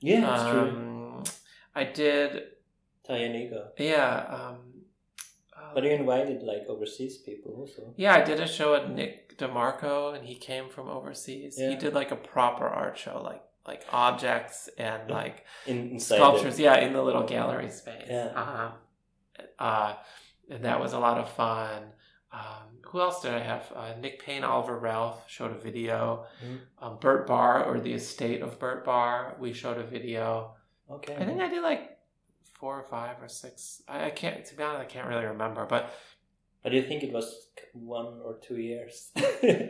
Yeah, that's true.
um, I did,
Tayanigo.
yeah. Um, uh,
But you invited like overseas people also.
yeah, I did a show at Nick DeMarco, and he came from overseas. He
Yeah.
did like a proper art show, like like objects and like
In, inside the-
sculptures. Yeah, in the little gallery space.
Yeah.
Uh-huh. Uh, and that was a lot of fun. Um, who else did I have? Uh, Nick Payne, Oliver Ralph showed a video.
Mhm.
Um, Burt Barr, or the estate of Burt Barr, we showed a video.
Okay.
I think I did like four or five or six. I, I can't, to be honest, I can't really remember. But
But you think it was one or two years?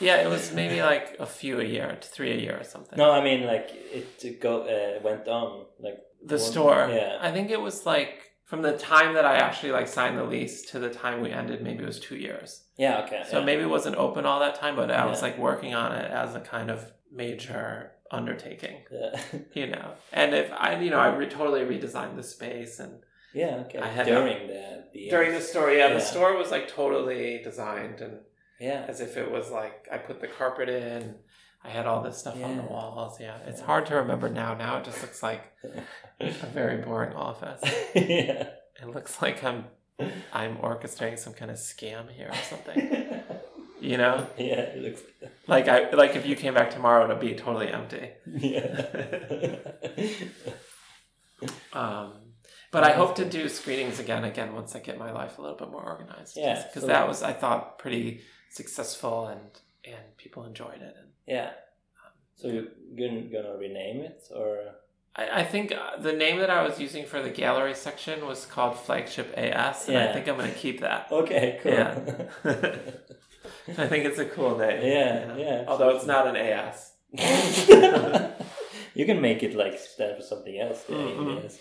yeah, it was maybe like a few a year, three a year or something.
no, I mean like it go uh, went on like
the
one-
store.
Yeah.
I think it was like from the time that I actually like signed the lease to the time we ended, maybe it was two years.
Yeah. Okay.
So
yeah.
maybe it wasn't open all that time, but I was
Yeah.
like working on it as a kind of major undertaking,
Yeah.
you know. And if I, you know, I re- totally redesigned the space and
yeah. Okay.
I had-
during the, the
during the store, yeah,
Yeah.
the store was like totally designed and
yeah.
as if it was like I put the carpet in. I had all this stuff on the
Yeah.
walls. Yeah, it's hard to remember now. Now it just looks like a very boring office.
yeah.
It looks like I'm I'm orchestrating some kind of scam here or something. You know,
yeah. It looks.
like I like if you came back tomorrow, it'd be totally empty.
Yeah.
Um, but I hope to do screenings again, again once I get my life a little bit more organized.
Yeah,
because
so-
that was I thought pretty successful and and people enjoyed it. And
yeah. So you're gonna gonna rename it or?
I, I think uh, the name that I was using for the gallery section was called Flagship AS, and I
Yeah.
think I'm going to keep that.
Okay. Cool.
Yeah. I think it's a cool name.
Yeah,
you know?
yeah,
Although it's not an AS.
you can make it like stand for something else. Yeah,
Mhm.
yes.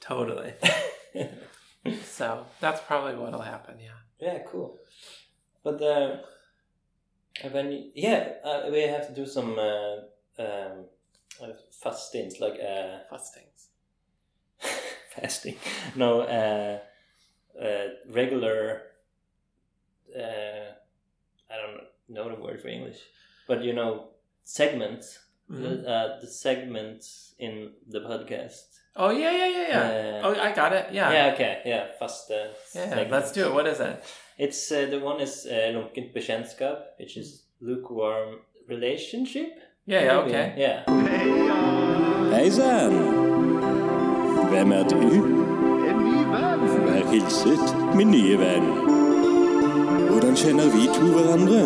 Totally. so that's probably what'll happen. Yeah.
Yeah, cool. But uh, when you, yeah, uh, we have to do some uh, um, uh, fastings like uh,
Fustings.
fasting. No, uh, uh, regular. Uh, I don't know the word for English, but you know segments.
Mhm.
Uh, the segments in the podcast.
Oh yeah, yeah, yeah, yeah.
Uh,
oh, I got it. Yeah.
yeah. Okay. Yeah. Fast. Uh,
Yeah,
segments.
let's do it. What is it?
It's uh, the one is uh, lunkent bekjentskap, which is lukewarm relationship.
Yeah, yeah,
maybe?
okay.
Yeah.
Hei sann! Hvem er du? En ny venn. Vær hilset, min nye venn. Hvordan kjenner vi to hverandre?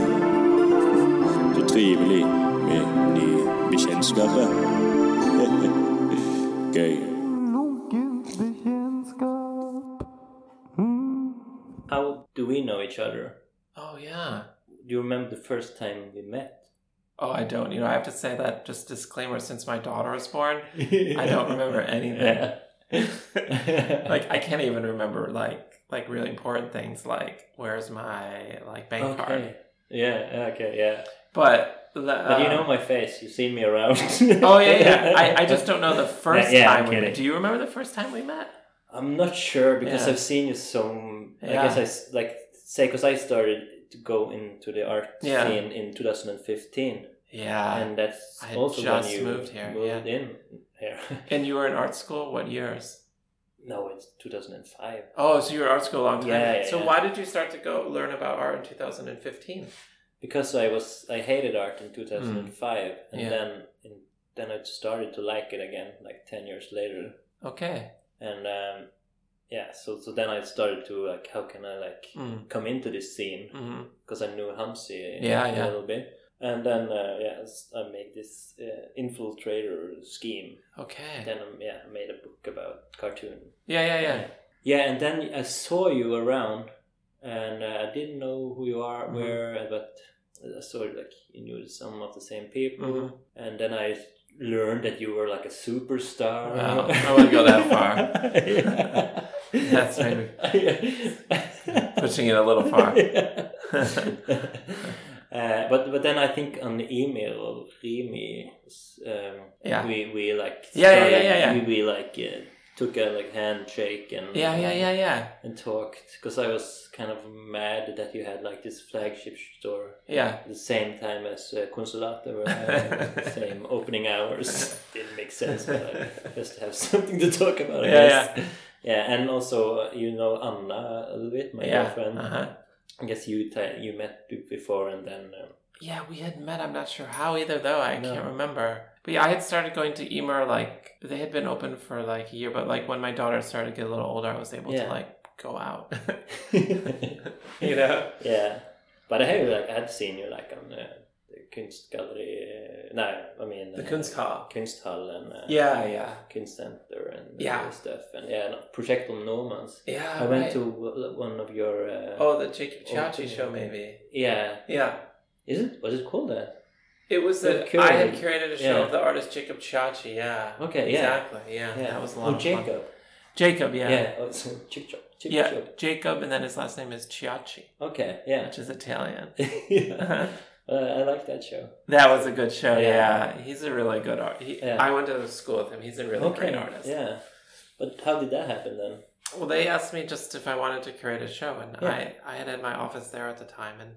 Så trivelig med nye bekjentskaper. Gøy.
How do we know each other?
Oh yeah.
Do you remember the first time we met?
Oh, I don't. You know, I have to say that just disclaimer. Since my daughter was born, I don't remember anything. Like I can't even remember like like really important things like where's my like bank card.
okay. Yeah. Okay. Yeah.
But,
But you know my face. You've seen me around.
Uh, Oh yeah, yeah. I, I just don't know the first
Yeah, yeah, I'm
time we met.
kidding.
Do you remember the first time we met?
I'm not sure because
Yeah.
I've seen you so. I
Yeah.
guess I s- like say because I started to go into the art
Yeah.
scene in 2015,
Yeah. And,
and that's
I had
also
just
when you
moved here,
moved in here.
you were in art school what years?
no, it's 2005.
Oh, so you were in art school a long time.
Yeah,
ago.
yeah,
so
yeah.
why did you start to go learn about art in 2015?
Because I was I hated art in 2005, and
Mm, Yeah.
then in, then I started to like it again, like 10 years later,
Okay.
and um, yeah. So so then I started to like, how can I like
Mm.
come into this scene?
hmm
because I knew Hamsi
Yeah,
a
yeah.
little bit. And then uh, yeah, s- I made this uh, infiltrator scheme.
Okay.
Then um, yeah, I made a book about cartoon.
Yeah, yeah, yeah.
Yeah, and then I saw you around, and uh, I didn't know who you are,
Mhm.
where, uh, but I saw like you knew some of the same people.
hmm
And then I learned that you were like a superstar.
Wow, I wouldn't go that far.
Yeah.
That's maybe-
Yeah.
Pushing it a little far.
Yeah. Uh, but but then I think on email or Rimi, um,
Yeah.
we we like
Yeah, yeah, yeah, yeah, yeah.
we, we like uh, took a like handshake and
Yeah, yeah, yeah, yeah.
and talked because I was kind of mad that you had like this flagship store
Yeah.
at the same time as uh, Consolata were having the same opening hours. Didn't make sense, but I just have something to talk about. I
Yeah,
guess. yeah, and also uh, you know Anna a little bit, my
yeah.
girlfriend.
Uh-huh.
I guess you t- you met b- before and then. Um,
Yeah, we had met. I'm not sure how either, though. I
No.
can't remember. But yeah, I had started going to E Emer, like, they had been open for like a year, but like when my daughter started to get a little older, I was able
Yeah.
to like go out. you know?
um, yeah, but I have like I'd seen you like on uh, the Kunstgallery. Uh, no, I mean
The
uh,
Kunsthall.
Kunsthallen. Uh,
Yeah, yeah.
Kunstcenter and
Yeah.
stuff and yeah, no, Project on Normans.
Yeah.
I went
right.
to w- one of your uh,
Oh, the Jacob
Oh,
Chiachi
yeah.
show, maybe.
yeah.
Yeah.
Is it was it called that?
It was
The
that I had
curated-
curated a show
yeah.
of the artist Jacob Chiachi, yeah.
Okay, yeah.
Exactly, yeah.
Yeah,
That was a lot
Oh,
of fun.
Jacob.
Jacob, yeah.
Yeah. Oh, it's Chick Chop. Chick
Yeah,
Chop.
Jacob, and then his last name is Chiachi,
Okay. Yeah.
which is Italian.
yeah. Uh, I like that show.
That was a good show.
Yeah.
Yeah, he's a really good artist.
Yeah.
I went to school with him. He's a really great artist.
Yeah. But how did that happen then?
Well, they asked me just if I wanted to curate a show, and
Yeah.
I I had had my office there at the time, and,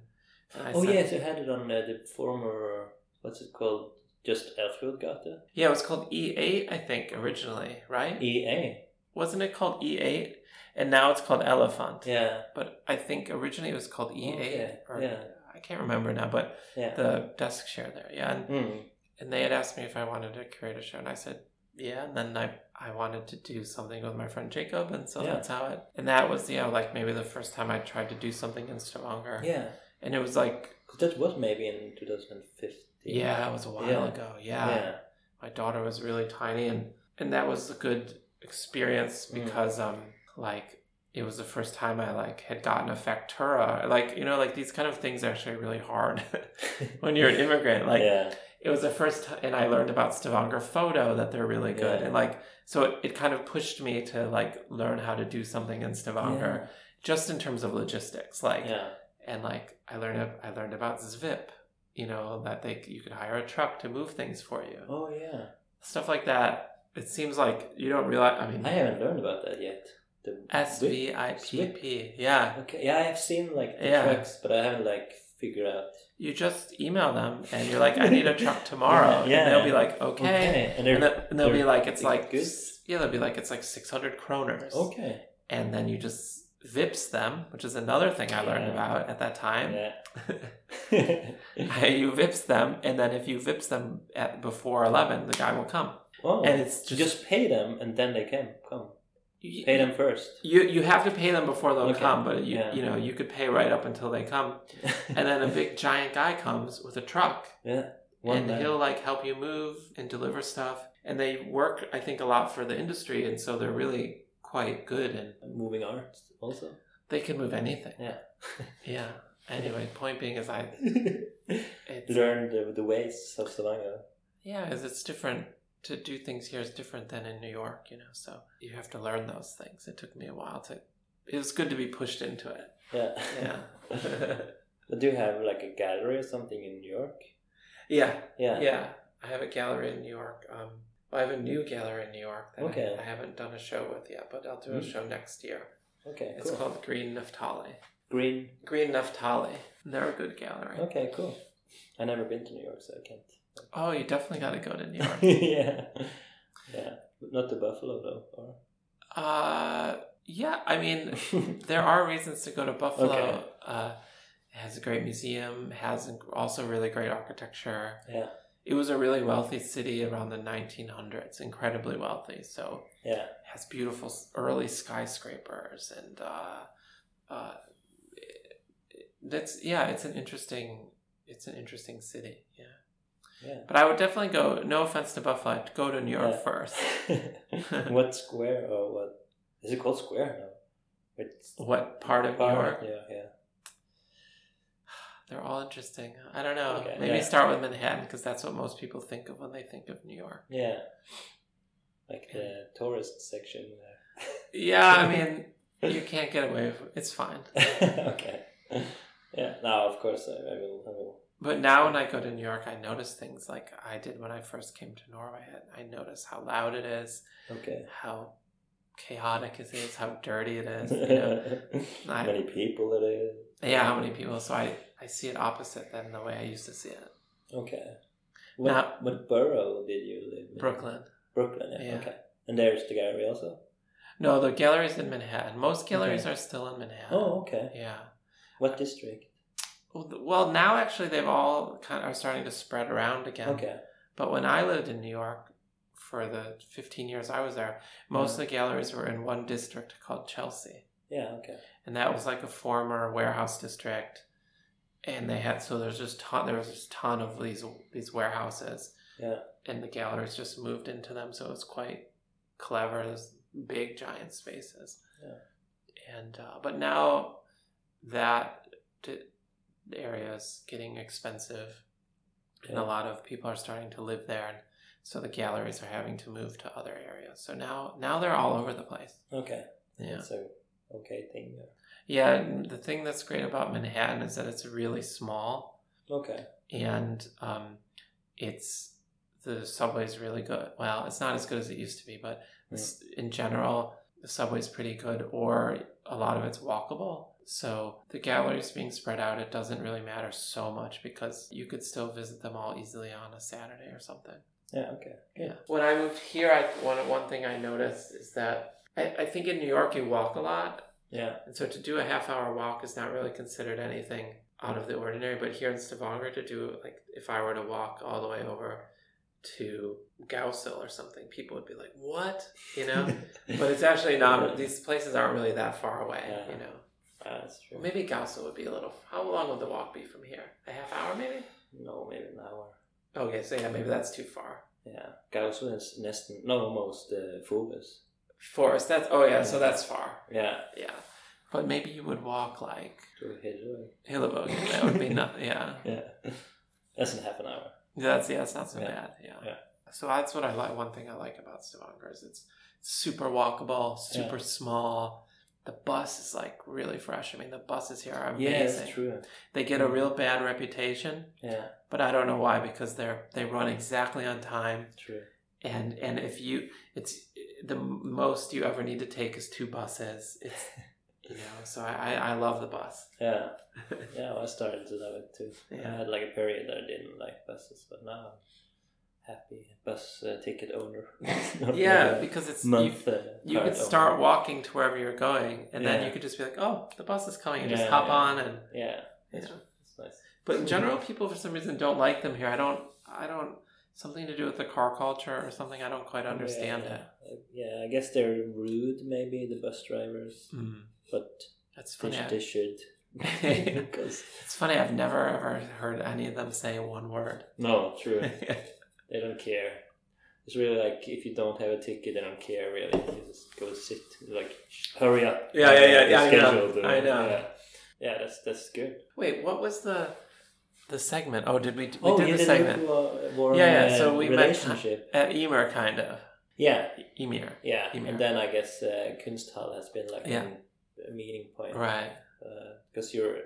and I
oh
said,
yes, you had it on uh, the former what's it called? Just Elfried Gata.
yeah, it was called E eight, I think originally, right?
E EA.
Wasn't it called E eight? And now it's called Elephant.
Yeah.
But I think originally it was called E eight.
Okay,
Or,
yeah.
I can't remember now, but
Yeah.
the desk chair there, yeah, and
Mm.
and they had asked me if I wanted to create a show, and I said yeah. And then I I wanted to do something with my friend Jacob, and so
Yeah.
that's how it. And that was yeah, like maybe the first time I tried to do something in Stavanger,
Yeah.
and it was like
Cause that was maybe in 2015.
yeah, it was a while
Yeah.
ago. Yeah.
Yeah.
my daughter was really tiny, and and that was a good experience
Mm.
because um like it was the first time I like had gotten a factura, uh, like you know like these kind of things are actually really hard when you're an immigrant, like
yeah.
it was the first time and i learned about stavanger photo that they're really good
Yeah.
and like so it, it kind of pushed me to like learn how to do something in stavanger just in terms of logistics like
Yeah.
and like i learned ab- i learned about zvip you know that they you could hire a truck to move things for you
Oh yeah.
stuff like that it seems like you don't realize i mean
I haven't learned about that yet. The whip.
s-v-i-p-p yeah
Okay. Yeah, I've seen like the
Yeah.
tracks, but I haven't like figured out.
you just email them and you're like i need a truck tomorrow
Yeah.
and they'll be like okay.
And, they're,
and, they'll, and they'll be
they're-
like it's like
good.
yeah they'll be like it's like 600 kroners
okay.
and then you just vips them which is another thing i learned
Yeah.
about at that time
Yeah.
you vips them and then if you vips them at before 11 the guy will come
oh.
and it's
just,
just,
pay them and then they can come.
you,
Pay them first.
you you have to pay them before they'll
Okay.
come but you
Yeah.
you know you could pay right up until they come and then a big giant guy comes with a truck
yeah. One
and
man.
he'll like help you move and deliver stuff and they work i think a lot for the industry and so they're really quite good and
moving arts also.
They can move anything.
Yeah.
Yeah. Anyway, point being is I it's,
Learn the, the ways of Stavanger.
yeah, is it's different to do things here is different than in New York, you know. So you have to learn those things. It took me a while to. It was good to be pushed into it.
Yeah.
Yeah.
Do you have like a gallery or something in New York?
yeah.
Yeah.
Yeah. I have a gallery in New York. Um, I have a new gallery in New York that I-
Okay.
I, haven't done a show with yet, but I'll do a
Mm.
show next year.
Okay.
It's
Cool.
called Green Naftali.
Green.
Green Naftali. They're a good gallery.
Okay. Cool. I never been to New York, so I can't.
Oh, you definitely got to go to New York.
yeah. Yeah. Not the Buffalo though, or
Uh, yeah, I mean, there are reasons to go to Buffalo.
Okay.
Uh, it has a great museum, has an- also really great architecture.
Yeah.
It was a really wealthy city around the 1900s, incredibly wealthy. So
Yeah.
it has beautiful s- early skyscrapers and uh, uh, it- it- that's yeah, it's an interesting it's an interesting city. Yeah.
Yeah.
But I would definitely go. No offense to Buffalo, I'd go to New York
Yeah.
first.
what square or what is it called square now? It's
What part of New
Park,
York?
Yeah, yeah.
They're all interesting. I don't know.
Okay,
Maybe
yeah.
start with Manhattan because that's what most people think of when they think of New York.
Yeah. Like the tourist section there.
Yeah, I mean, you can't get away with It's fine.
okay. Yeah, no, of course I, I will. I will.
But now when I go to New York, I notice things like I did when I first came to Norway. I notice how loud it is,
Okay.
how chaotic it is, how dirty it is. You know? I-
Many people it is.
yeah, how many people. So I, I see it opposite than the way I used to see it.
Okay. What,
Now-
what borough did you live in?
Brooklyn.
Brooklyn, yeah.
Yeah.
Okay. And there's the gallery also?
No, the galleries in Manhattan. Most galleries are still in Manhattan.
Oh, okay.
Yeah.
What district?
Well, th- Well, now actually they've all kind of are starting to spread around again.
Okay.
But when I lived in New York for the 15 years I was there, most of the galleries were in one district called Chelsea.
Yeah, okay.
And that was like a former warehouse district. And they had so there's just ton there was just ton of these these warehouses.
Yeah.
And the galleries just moved into them, so it's quite clever. There's big giant spaces. Yeah. And uh, but now that d- area is getting expensive and
Yeah.
a lot of people are starting to live there and so the galleries are having to move to other areas so now now they're all over the place
Okay.
yeah
So, okay thing. yeah.
yeah and the thing that's great about manhattan is that it's really small
Okay.
and um, it's the subway's really good well it's not as good as it used to be but s- in general the subway's pretty good or a lot of it's walkable so the galleries being spread out it doesn't really matter so much because you could still visit them all easily on a saturday or something
Yeah, okay.
Yeah. When I moved here, I one one thing I noticed is that I, I think in New York you walk a lot,
Yeah.
and so to do a half hour walk is not really considered anything out of the ordinary. But here in Stavanger, to do like if I were to walk all the way over to Gausel or something, people would be like, "What?" You know. but it's actually not. These places aren't really that far away.
Yeah.
You know.
Ah, that's true.
Well, maybe Gausel would be a little. How long would the walk be from here? A half hour, maybe.
No, maybe an hour.
Okay, so yeah, maybe that's too far.
Yeah. Gausel is nästan, no, almost uh, Fobus.
Forest. That's oh yeah, so that's far.
Yeah.
Yeah. But maybe you would walk like
To Hillary.
Hillabog. That would be not, yeah.
Yeah. That's in er half an hour.
That's, yeah, that's not so
Yeah.
bad. Yeah.
Yeah.
So that's what I like. One thing I like about Stavanger is it's super walkable, super small. The bus is like really fresh. I mean, the buses here are amazing.
Yeah, that's true. Mm-hmm.
They get a real bad reputation,
Yeah,
but I don't know why because they're they run
Mm-hmm.
exactly on time.
true.
And and if you, it's the most you ever need to take is two buses. It's you know. So I I, I love the bus.
Yeah. Yeah, well, I started to love it too. I
Yeah.
had like a period that I didn't like buses, but now I'm happy bus uh, ticket owner.
Yeah, because it's you,
month. uh,
you
card
could start
owner.
walking to wherever you're going, and then
Yeah.
you could just be like, "Oh, the bus is coming," and
Yeah,
just hop
yeah.
on. And
Yeah,
you
that's,
know.
that's nice.
but in general, people for some reason don't like them here. I don't. I don't. Something to do with the car culture or something. I don't quite understand
yeah, yeah. Uh, Yeah, I guess they're rude, maybe the bus drivers,
it. Mm.
but
That's
they,
funny. I-
they should. because
it's funny. I've never ever heard any of them say one word.
no, true.
yeah,
They don't care. It's really like if you don't have a ticket, they don't care really. You just go sit, like hurry up.
yeah, yeah. yeah I
It's
know.
scheduled, uh,
I know.
Yeah. Yeah, that's that's good.
Wait, what was the the segment? Oh, did we? We did the
the
segment
lukewarm, warm,
Yeah, yeah,
uh,
so we met-
relationship.
at Emer, kind of
Yeah,
Emir.
yeah,
Email.
and then I guess uh, Kunsthal has been like
Yeah.
an- a meeting point,
Right,
Because you're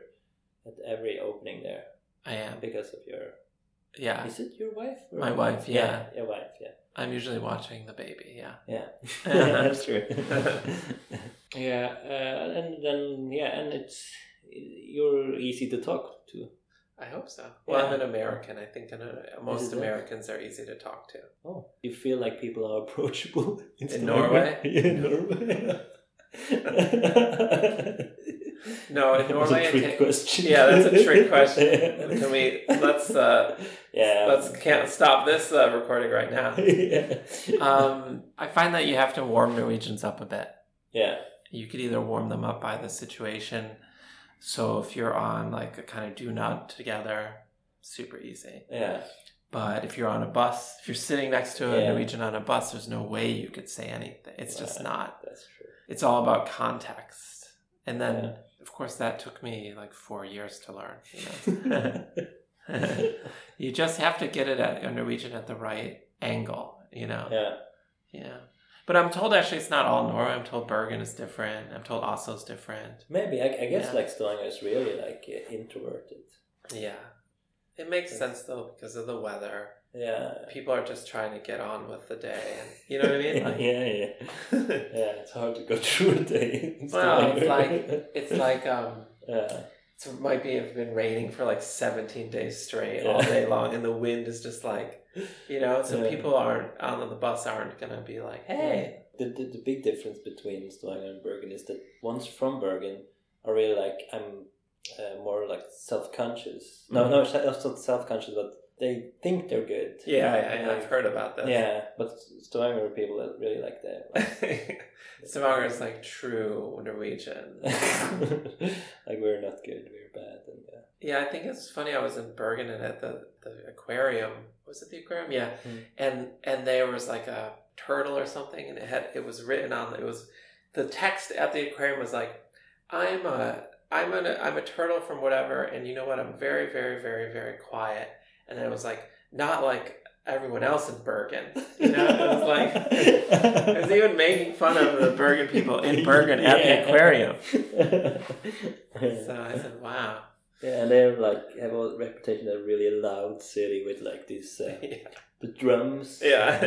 at every opening there
I am.
because of your.
Yeah,
Is it your wife? or-
My wife, yeah.
your wife. Yeah,
I'm usually watching the baby. Yeah.
yeah, that's true. yeah, uh, and then yeah, and it's you're easy to talk to.
I hope so. Well, I'm
Yeah.
an American. I think in a,
Is
most
it?
Americans are easy to talk to.
Oh, you feel like people are approachable
In Norway? Oh,
Yeah, in Norway.
No, in
That was
Norway,
a
it
trick
take-
question.
Yeah, that's a trick question. Can we- let's, uh,
yeah,
let's can't stop this uh, recording right now.
yeah.
Um, I find that you have to warm Norwegians up a bit.
yeah,
You could either warm them up by the situation. So if you're on like a kind of do not together, super easy.
yeah,
But if you're on a bus, if you're sitting next to a
Yeah.
Norwegian on a bus, there's no way you could say anything. It's just
Right.
not.
that's true.
it's all about context. And then,
Yeah.
of course, that took me like four years to learn. You, know? you just have to get it at a Norwegian at the right angle, you know?
Yeah,
Yeah. But I'm told actually it's not all Norway. I'm told Bergen is different. I'm told Oslo's different.
Maybe I, I guess
Yeah.
like Stavanger is really like uh, introverted.
Yeah. It makes sense though because of the weather.
Yeah.
People are just trying to get on with the day. You know what I mean?
yeah,
Like,
yeah,
it's
yeah. It's hard to go through a day. in
Well, it's
Stavanger.
like um,
yeah,
it might be have been raining for like 17 days straight all
Yeah.
day long, and the wind is just like, you know. So
Yeah.
people aren't out on the bus aren't gonna be like, hey,
The, the the big difference between Stavanger and Bergen is that ones from Bergen are really like I'm uh, more like self conscious.
Mm-hmm.
No, no, it's not self conscious, but they think they're good.
yeah, yeah,
Like,
I've heard about this.
Yeah, but Stavanger people are really like that. like,
Stavanger is like true Norwegian.
like we're not good, we're bad, and uh,
Yeah, I think it's funny. I was in Bergen and at the, the aquarium. Was it the aquarium? Yeah,
Hmm.
and and there was like a turtle or something, and it had it was written on it was the text at the aquarium was like, "I'm a I'm an I'm a turtle from whatever, and you know what? I'm very very very very quiet." And then it was like not like everyone else in Bergen, you know. It was like it was even making fun of the Bergen people in Bergen at the
Yeah.
aquarium.
yeah.
So I said, "Wow."
and they're like have a reputation of really loud city with like these uh, the drums.
Yeah.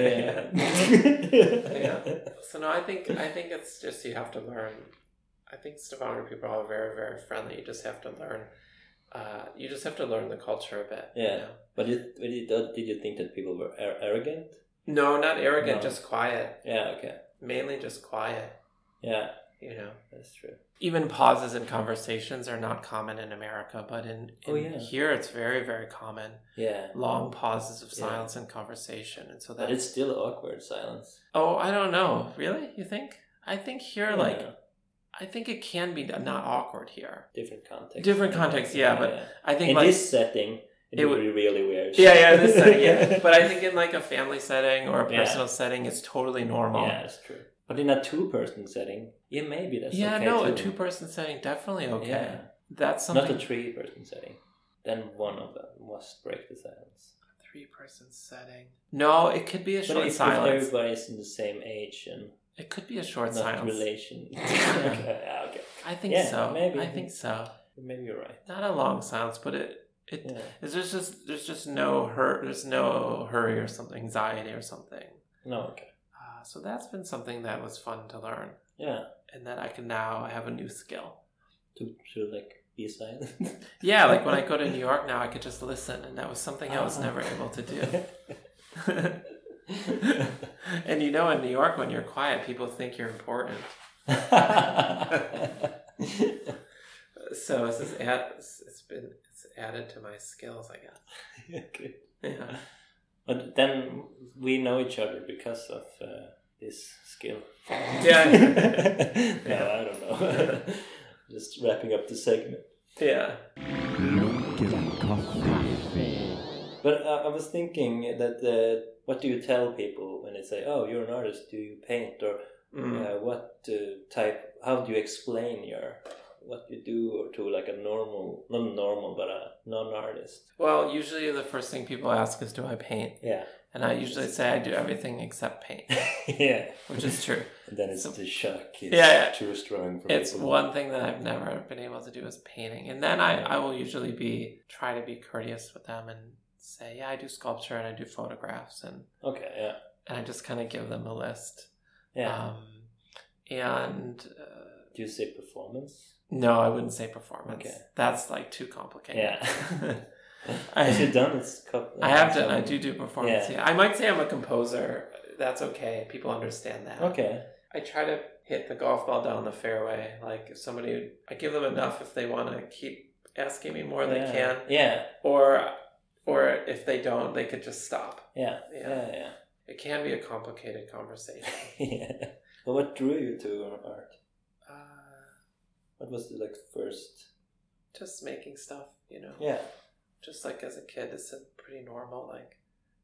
yeah.
So no, I think I think it's just you have to learn. I think Stavanger people are very very friendly. You just have to learn. Uh, you just have to learn the culture a bit. you
Yeah.
know?
But you, but you don't- did you think that people were ar- arrogant?
No, not arrogant.
No.
Just quiet.
Yeah. Okay.
Mainly just quiet.
Yeah,
You know.
that's true.
Even pauses in conversations are not common in America, but in, in
Oh, yeah.
here it's very very common.
Yeah.
Long pauses of
Yeah.
silence in conversation, and so that
But it's still awkward silence.
Oh, I don't know. Really? You think? I think here, like,
Yeah.
I think it can be not awkward here.
different context.
Different context, yeah, but I think
in
like
this setting, it,
It
would be really weird.
yeah, yeah, this setting, yeah. But I think in like a family setting or a
Yeah.
personal setting, it's totally normal.
yeah, that's true. But in a two-person setting, yeah, maybe that's
Yeah,
okay
no, a
too.
two-person setting definitely okay.
Yeah,
That's something.
not a three-person setting. Then one of them must break the silence.
three-person setting. No, it could be a
But
short
if, if
silence.
everybody's in the same age and
It could be a short
not
silence.
relation, okay, yeah, okay,
I think
Yeah,
so.
maybe.
I think so.
maybe you're right.
Not a long silence, but it it
Yeah,
Is there's just there's just no hur- there's no hurry or something anxiety or something.
no, okay,
Uh, so that's been something that was fun to learn,
yeah,
and that I can now I have a new skill.
to to like be silent.
Yeah, like when I go to New York now, I could just listen, and that was something I was
Ah.
never able to do. and you know, in New York, when you're quiet, people think you're important. So this is add, it's it's been it's added to my skills, I guess.
okay.
Yeah.
But then we know each other because of uh, this skill.
Yeah.
no, I don't know. Just wrapping up the segment.
Yeah.
Lunken kaffe.
But uh, I was thinking that uh, what do you tell people when they say, "Oh, you're an artist. Do you paint?" Or
Mm.
uh, what uh, type? How do you explain your what you do to like a normal, not normal, but a non-artist?
Well, usually the first thing people ask is, "Do I paint?"
Yeah,
And I usually say I do everything except paint,
yeah.
which is true.
And then it's
So-
the shock. It's
Yeah, yeah.
too strong for
It's
people.
one thing that I've never been able to do is painting. And then I, I will usually be try to be courteous with them and say, Yeah, I do sculpture and I do photographs and,
Okay, yeah,
and I just kind of give them a list.
yeah.
Um, and uh,
do you say performance?
no, I wouldn't say performance.
Okay.
That's like too complicated.
Yeah. Has you
I,
done this couple?
I have done, I do do performance.
Yeah.
Yeah. I might say I'm a composer. That's okay. People understand that.
Okay.
I try to hit the golf ball down the fairway. Like if somebody, I give them enough if they want to keep asking me more, they
yeah.
can,
Yeah.
or or if they don't, they could just stop.
Yeah.
Yeah,
Yeah. Yeah.
it can be a complicated conversation.
yeah. But what drew you to art?
uh,
What was the like first?
just making stuff, you know.
Yeah.
Just like as a kid, it's a pretty normal, like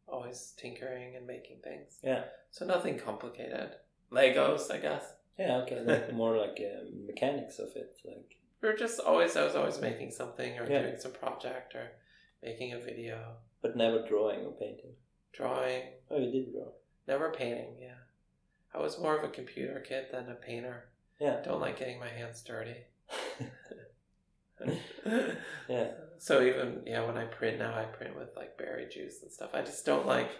always tinkering and making things.
Yeah.
So nothing complicated. Legos, I guess.
Yeah. Okay. Like more like uh, mechanics of it. Like.
We were just always, I was always making something or
Yeah.
doing some project or making a video,
But never drawing or painting.
drawing.
Oh, you did draw.
Never painting, yeah. I was more of a computer kid than a painter.
Yeah.
I don't like getting my hands dirty.
Yeah.
So even yeah, when I print now, I print with like berry juice and stuff. I just don't like.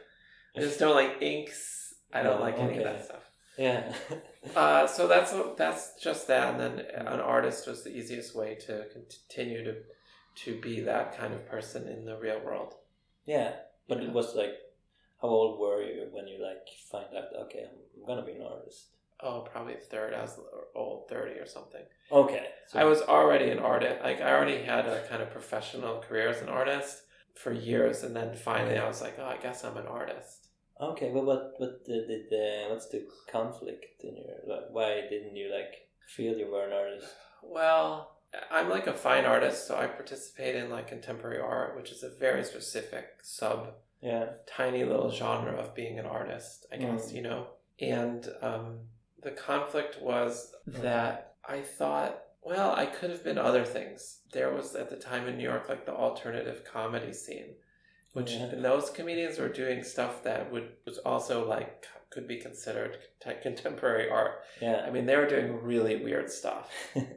I just don't like inks. I don't
No,
like any of
okay.
that stuff.
Yeah.
Uh, so that's that's just that, and then an artist was the easiest way to continue to to be that kind of person in the real world.
yeah. But
Yeah.
it was like, how old were you when you like find out? Okay, I'm gonna be an artist.
Oh, probably third. I was old, thirty or something.
Okay. So,
I was already an artist. Like I already had a kind of professional career as an artist for years, and then finally I was like, oh, I guess I'm an artist.
Okay. Well, what what did the, the what's the conflict in your like? Why didn't you like feel you were an artist?
Well, I'm like a fine artist, so I participate in like contemporary art, which is a very specific sub
Yeah.
tiny little genre of being an artist, I guess,
Mm.
you know? And um, the conflict was
Mm.
that I thought, well, I could have been other things. There was at the time in New York, like the alternative comedy scene, which
Yeah.
and those comedians were doing stuff that would was also like could be considered cont- contemporary art. I
Yeah.
mean, they were doing really weird stuff.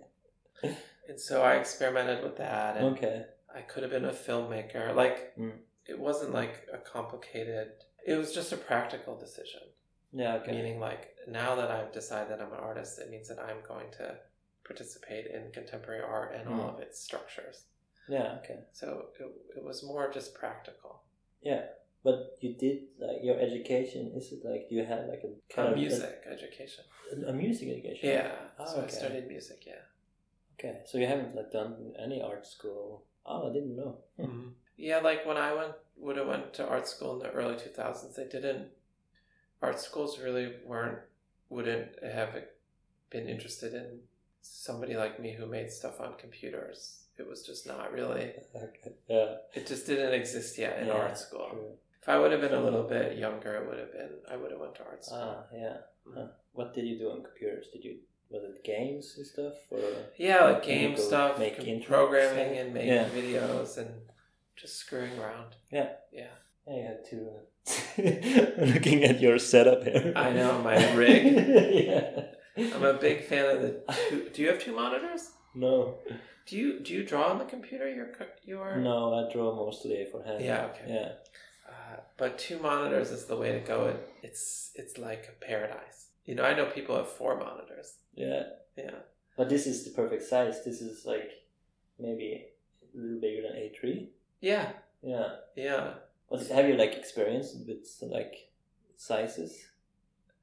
and so I experimented with that. And
Okay.
I could have been a filmmaker. Like
Mm.
it wasn't like a complicated. It was just a practical decision.
Yeah. Okay.
Meaning, like now that I've decided that I'm an artist, it means that I'm going to participate in contemporary art and
Mm.
all of its structures.
Yeah. Okay.
So it, it was more just practical.
But you did like your education. Is it like you had like a
Uh,
kind of
music education.
a, a music education?
Yeah.
Oh,
so I
okay.
studied music. Yeah.
Okay. So you haven't like done any art school. Oh, I didn't know. Hmm.
Yeah, like when I went would have went to art school in the early two thousands, they didn't art schools really weren't wouldn't have been interested in somebody like me who made stuff on computers. It was just not really
Okay. Yeah.
it just didn't exist yet in
Yeah,
art school.
True.
If I would have been a little bit younger it would have been I would have went to art school.
Ah, yeah. Huh. What did you do on computers? Did you was it games and stuff or?
yeah, like
Can you
game
go
stuff,
make
com-
intro
programming
stuff?
and making
Yeah.
videos and just screwing around.
Yeah.
Yeah.
Yeah, you had to. I'm looking at your setup here.
uh, I know, my rig.
yeah.
I'm a big fan of the two, do you have two monitors?
No,
Do you do you draw on the computer? Your co- your
no, I draw mostly for hand.
Yeah, okay.
Yeah.
Uh, but two monitors is the way to go. It, it's it's like a paradise. You know, I know people have four monitors.
Yeah.
Yeah.
But this is the perfect size. This is like maybe a little bigger than A3.
Yeah.
Yeah.
Yeah.
What's, have you like experienced with like sizes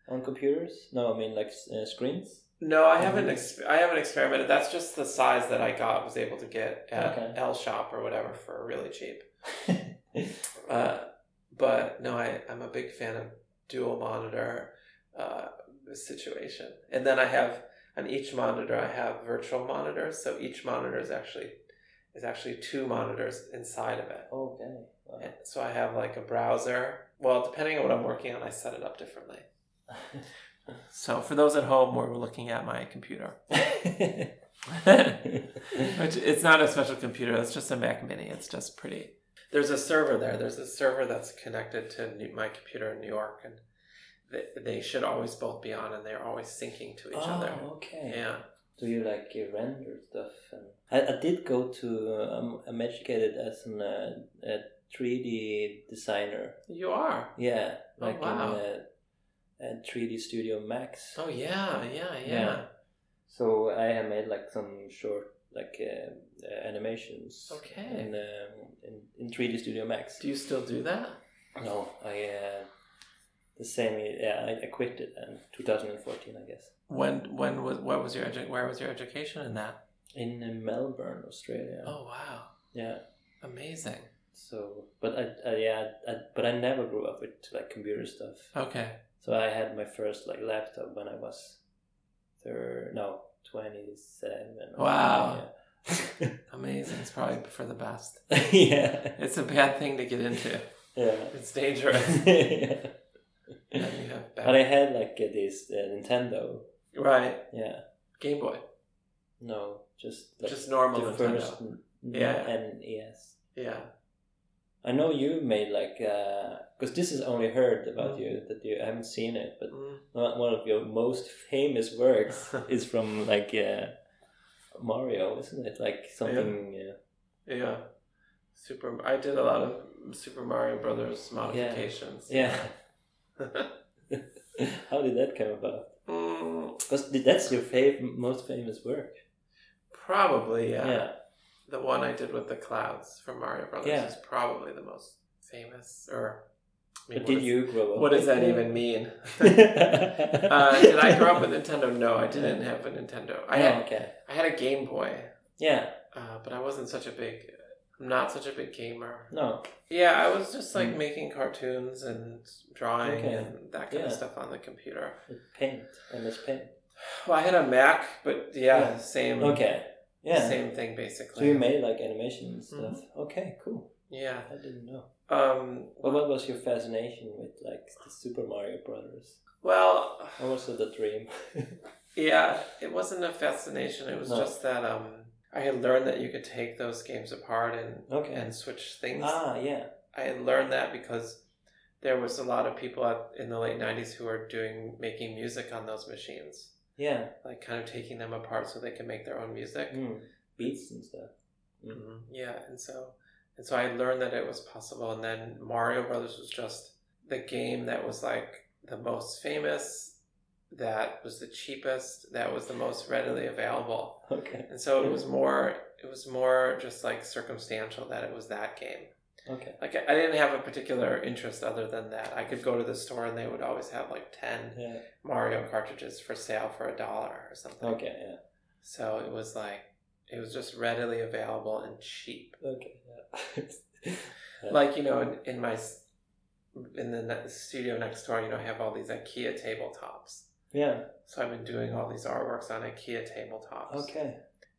on computers? No, I mean like s- uh, screens.
No, I haven't. Ex- I haven't experimented. That's just the size that I got. Was able to get at
Okay.
L Shop or whatever for really cheap. Uh, but no, I, I'm a big fan of dual monitor uh, situation. And then I have on each monitor I have virtual monitors, so each monitor is actually is actually two monitors inside of it.
okay. Wow.
And so I have like a browser. Well, depending on what I'm working on, I set it up differently. So for those at home, we're looking at my computer. Which it's not a special computer. It's just a Mac Mini. It's just pretty. There's a server there. There's a server that's connected to new, my computer in New York, and they, they should always both be on, and they're always syncing to each other.
oh, okay.
Yeah.
Do you like you render stuff? And I, I did go to. Uh, I'm, I'm educated as an, uh, a 3D designer.
You are.
Yeah,
Oh,
like in uh,
wow.
uh, 3D Studio Max.
Oh yeah, yeah, yeah.
Yeah. So I have made like some short like um, uh, animations.
Okay.
In, um, in in 3D Studio Max.
Do you still do that?
No, I uh, the same. Yeah, I, I quit it in 2014, I guess,
When when was what was your edu- where was your education in that?
in uh, Melbourne, Australia.
Oh wow,
Yeah.
amazing.
So, but I, I yeah, I, but I never grew up with like computer stuff.
Okay.
So I had my first like laptop when I was, thir- no, twenty seven.
Wow. Amazing. It's probably for the best.
yeah.
It's a bad thing to get into.
yeah.
It's dangerous.
yeah.
And you have bad-
But I had like uh, this uh, Nintendo.
Right.
Yeah.
Game Boy.
No, just like,
Just normal
the
Nintendo.
first.
Yeah.
NES.
Yeah.
E I know you made like because this is only heard about
Mm.
you that you haven't seen it, but one one of your most famous works
Mm.
is from like uh, Mario, isn't it? Like something. uh, Yeah.
Yeah. Super. I did a lot of Super Mario Brothers modifications.
yeah. How did that come about?
Mm,
Because that's your fav- most famous work.
probably, yeah.
yeah.
The one I did with the clouds from Mario Brothers
Yeah.
is probably the most famous. Or I mean,
But
what
did
is-
you grow up?
What does
with
that
it?
even mean? uh, did I grow up with Nintendo? No, I didn't have a Nintendo. I
Yeah,
had
okay.
I had a Game Boy,
Yeah.
uh, but I wasn't such a big. I'm not such a big gamer.
No.
Yeah, I was just like
Mm.
making cartoons and drawing
Okay.
and that kind of
Yeah.
stuff on the computer.
Paint. MS Paint.
Well, I had a Mac, but yeah,
Yeah.
same.
Okay. Yeah.
Same thing basically.
So you made like animation and stuff. Okay, cool.
yeah.
I didn't know.
Um.
Well, what was your fascination with like the Super Mario Brothers?
Well,
What was it, the dream?
Yeah, it wasn't a fascination. It was
No.
just that um, I had learned that you could take those games apart and
Okay.
and switch things.
ah, yeah.
I had learned that because there was a lot of people at, in the late '90s who were doing making music on those machines,
Yeah.
like kind of taking them apart so they could make their own music.
Mm. Beats and stuff. Mm-hmm.
Mhm. Yeah, and so and so I learned that it was possible. And then Mario Brothers was just the game that was like the most famous, that was the cheapest, that was the most readily available.
Okay.
And so it was more it was more just like circumstantial that it was that game.
Okay.
Like I I didn't have a particular interest other than that. I could go to the store and they would always have like 10
Yeah.
Mario cartridges for sale for a dollar or something.
Okay. Yeah.
So it was like it was just readily available and cheap.
Okay. Yeah. Yeah.
Like, you know, in, in my s- in the ne- studio next door, you know, I have all these IKEA tabletops.
yeah.
So I've been doing all these artworks on IKEA tabletops.
Okay.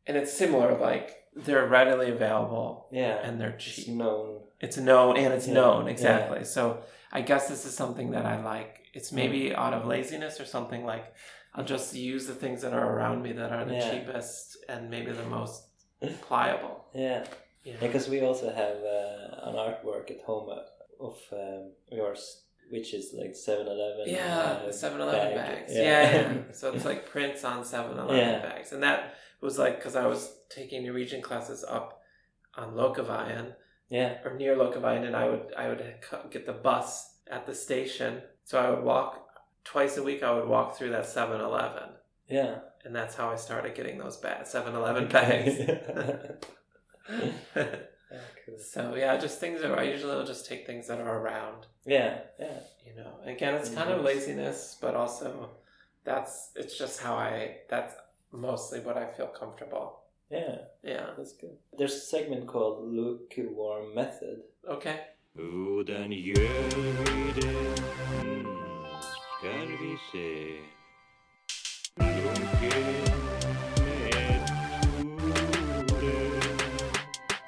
And it's similar like they're readily available
Yeah.
and they're
it's
cheap.
known.
It's known and it's
Yeah,
known
yeah.
exactly. So I guess this is something that I like. It's maybe out of laziness or something like I'll just use the things that are around me that are the
Yeah.
cheapest and maybe the most pliable.
Yeah.
Yeah.
Because we also have uh, an artwork at home uh, of um, yours, which is like 7 Eleven. Uh,
Yeah, uh, the 7-Eleven bags. Yeah. yeah, So it's like prints on 7-Eleven
Yeah.
bags. And that was like cuz I was taking New Region classes up on Locovian
yeah.
or near Lokavine, and I would I would co- get the bus at the station. So I would walk twice a week. I would walk through that 7-Eleven,
Yeah.
and that's how I started getting those bad 7-Eleven bags.
Yeah, cool.
so yeah, just things that I usually will just take things that are around.
yeah. Yeah.
You know, again, it's kind of
Mhm.
laziness, but also that's it's just how I. That's mostly what I feel comfortable.
Yeah.
Yeah.
That's good. There's a segment called Lukewarm Method.
Okay.
Hvordan gjør vi det? Hmm, Skal vi se. Lunken med Tore.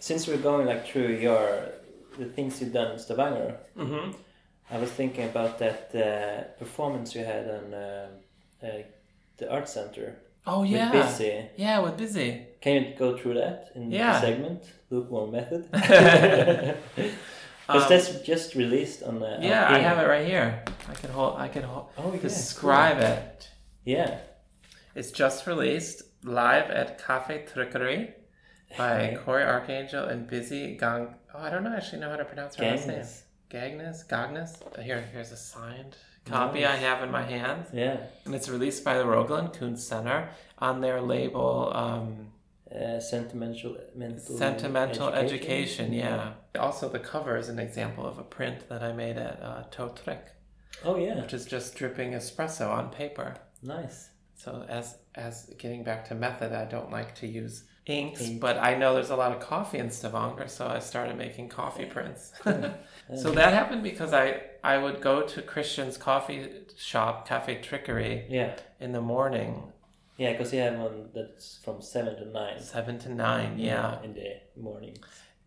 Since we're going like through your the things you've done in Stavanger,
Mm-hmm.
I was thinking about that uh, performance you had on uh, uh, the art center.
Oh
with
yeah.
Busy.
Yeah, with busy.
Can you go through that in
Yeah.
the segment? Lukewarm method. Because
Um,
that's just released on. Uh,
Yeah, I have it right here. I could hold. I could hold.
Oh, yeah,
describe it.
Yeah.
It's just released live at Cafe Trickery by
Okay.
Corey Archangel and Busy Gang. Oh, I don't know actually know how to pronounce her last name.
Gangness.
Gagnus, Gagnus. Here, here's a signed copy I
Nice.
have in my hand,
Yeah.
and it's released by the Roglin Kunst Center on their label. Um,
Uh, sentimental. Mental
Sentimental education. yeah. Also, the cover is an example of a print that I made at uh, Totrek,
Oh yeah.
which is just dripping espresso on paper.
Nice.
So as as getting back to method, I don't like to use inks, but I know there's a lot of coffee in Stavanger, so I started making coffee prints. so that happened because I I would go to Christian's coffee shop, Cafe Trickery,
Yeah.
in the morning,
Yeah, because you have one that's from seven to nine.
seven to nine, yeah,
In the morning.